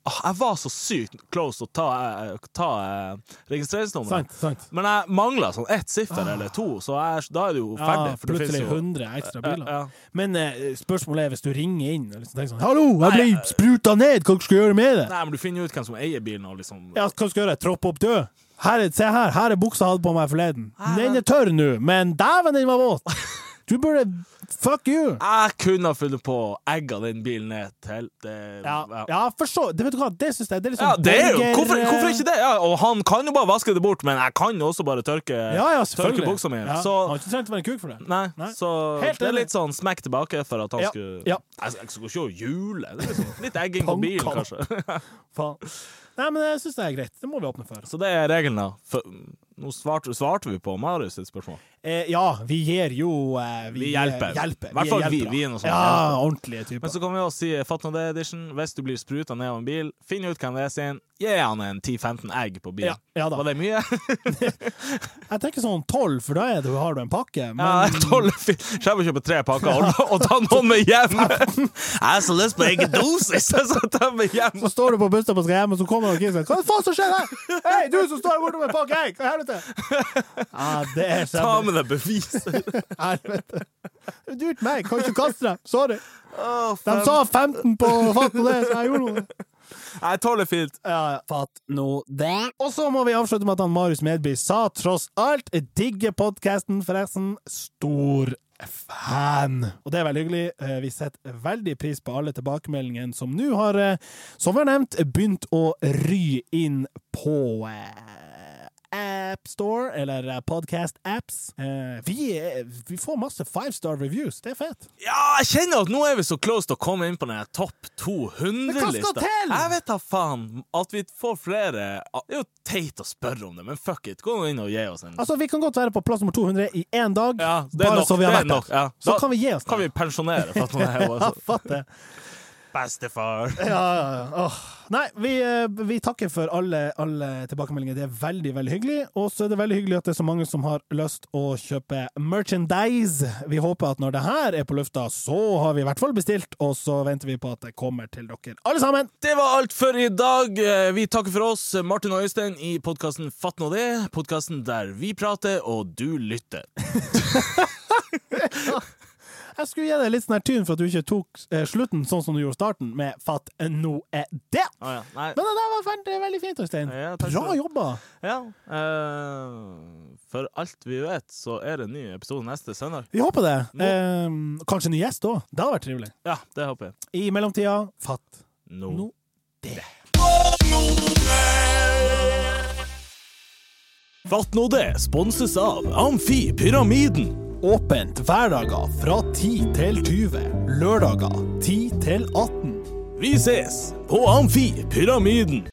Speaker 2: ah, Jeg var så sykt close å ta, eh, ta eh, registreringsnummeret.
Speaker 1: Sant. sant.
Speaker 2: Men jeg mangla sånn ett siffer eller to, så jeg, da er det jo ferdig.
Speaker 1: Ja,
Speaker 2: for det finnes
Speaker 1: plutselig
Speaker 2: jo-
Speaker 1: 100 ekstra biler.
Speaker 2: Ja, ja.
Speaker 1: Men eh, spørsmålet er hvis du ringer inn og liksom tenker sånn 'Hallo, jeg ble spruta ned, hva skal jeg gjøre med det?'
Speaker 2: Nei, men du finner jo ut hvem som eier bilen, og liksom
Speaker 1: Ja, hva skal jeg gjøre? Troppe opp død? Her er, se her, her er buksa jeg hadde på meg forleden.
Speaker 2: Nei,
Speaker 1: Den
Speaker 2: men-
Speaker 1: er tørr nå, men dæven, den var våt! Du burde Fuck you!
Speaker 2: Jeg kunne ha funnet på å egge den bilen ned til det,
Speaker 1: Ja, ja for så det, Vet du hva, det syns jeg det er litt
Speaker 2: Ja,
Speaker 1: sånn eh,
Speaker 2: det er jo
Speaker 1: borger-
Speaker 2: hvorfor, hvorfor ikke det? Ja, og han kan jo bare vaske det bort, men jeg kan jo også bare tørke
Speaker 1: Ja, ja, selvfølgelig.
Speaker 2: Tørke buksa mi.
Speaker 1: Ja,
Speaker 2: Så-
Speaker 1: Han har ikke trengt å være en kuk for det.
Speaker 2: Nei,
Speaker 1: Nei.
Speaker 2: så
Speaker 1: Helt
Speaker 2: det er
Speaker 1: enig.
Speaker 2: litt sånn smekk tilbake for at han
Speaker 1: Ja,
Speaker 2: skulle
Speaker 1: ja.
Speaker 2: Jeg, jeg skulle ikke jule. Det er liksom litt egging på bilen,
Speaker 1: Panka.
Speaker 2: kanskje.
Speaker 1: Faen. Nei, men eh, jeg syns det er greit. Det må vi åpne for.
Speaker 2: Så det er regelen, da. For, nå svarte, svarte vi på Marius sitt spørsmål.
Speaker 1: Eh, ja, vi gir jo eh,
Speaker 2: Vi
Speaker 1: eh,
Speaker 2: hjelper.
Speaker 1: hjelper.
Speaker 2: I hvert fall vi-
Speaker 1: hjelpere.
Speaker 2: vi er noe sånt.
Speaker 1: Ja, ordentlige
Speaker 2: Men
Speaker 1: typer.
Speaker 2: så kan vi også si Fatt nå det edition. Hvis du blir spruta ned av en bil, finn ut hvem det er sin, gi han en 10-15 egg på bilen.
Speaker 1: Ja, ja da.
Speaker 2: Var det mye?
Speaker 1: Jeg tenker sånn tolv, for da er det, har du en pakke. Men
Speaker 2: Ja, tolv Skjæver kjøper tre pakker og, og tar noen med hjem! Jeg har så lyst på egen dosis, så jeg tar med hjem!
Speaker 1: så står du på busstoppet og skal hjem, og så kommer noen og sier Hva faen som skjer her?! Hei, du som står her borte med en pakke egg! Hva i helvete? Ja, det er
Speaker 2: Ta
Speaker 1: kjempe...
Speaker 2: med deg bevis!
Speaker 1: Helvete. Det er dyrt meg. Kan ikke kaste dem. Sorry.
Speaker 2: Å,
Speaker 1: De
Speaker 2: faen.
Speaker 1: sa 15 på fatt og det, så jeg gjorde noe.
Speaker 2: Nei, tolv er fint.
Speaker 1: Ja, ja.
Speaker 4: Fatt nå det.
Speaker 1: Og så må vi avslutte med at han Marius Medby sa tross alt digger podkasten, forresten. Stor fan. Og det er veldig hyggelig. Eh, Vi setter veldig pris på alle tilbakemeldingene som nå har, eh, som vi har nevnt, begynt å ry inn på eh, AppStore, eller eh, Podcast Apps. Eh, Vi, er- vi får masse five star reviews. Det er fett.
Speaker 2: Ja, jeg kjenner at nå er vi så close til å komme inn på den her topp 200-lista.
Speaker 1: Men hva skal til?
Speaker 2: Jeg vet da faen. At vi får flere ah, Det er jo teit å spørre om det, men fuck it. Gå nå inn og gi oss en.
Speaker 1: Altså, vi kan godt være på plass nummer 200 i én dag,
Speaker 2: Ja, det er
Speaker 1: bare
Speaker 2: nok,
Speaker 1: så vi har
Speaker 2: det er
Speaker 1: vært
Speaker 2: nok,
Speaker 1: der.
Speaker 2: ja.
Speaker 1: Så
Speaker 2: Da
Speaker 1: kan vi gi oss
Speaker 2: Kan
Speaker 1: det.
Speaker 2: vi pensjonere for at noen er altså.
Speaker 1: Ja, fatt det.
Speaker 2: bestefar?
Speaker 1: Ja, ja, ja. Åh. Nei, vi, eh, vi takker for alle, alle tilbakemeldinger. Det er veldig veldig hyggelig. Og så er det veldig hyggelig at det er så mange som har lyst å kjøpe merchandise. Vi håper at når det her er på lufta, så har vi i hvert fall bestilt, og så venter vi på at det kommer til dere alle sammen.
Speaker 2: Det var alt for i dag. Eh, Vi takker for oss, Martin og Øystein, i podkasten Fatt nå det. Podkasten der vi prater, og du lytter.
Speaker 1: Jeg skulle gi deg litt sånn her tyn for at du ikke tok eh, slutten sånn som du gjorde starten, med Fatt nå er det.
Speaker 2: Ah, ja. Nei.
Speaker 1: Men det der var veldig, veldig fint, Øystein.
Speaker 2: Ja, takk skal
Speaker 1: Bra
Speaker 2: du-
Speaker 1: jobba.
Speaker 2: Ja. eh, for alt vi vet, så er det en ny episode neste søndag.
Speaker 1: Vi håper det. Eh, kanskje en ny gjest òg. Det hadde vært trivelig.
Speaker 2: Ja, det håper jeg.
Speaker 1: I mellomtida, Fatt
Speaker 2: Nå.
Speaker 1: nå
Speaker 2: Fatt nå det sponses av Amfi Pyramiden.
Speaker 1: Åpent hverdager fra 10 til 20. Lørdager 10 til 18.
Speaker 2: Vi ses på Amfi Pyramiden.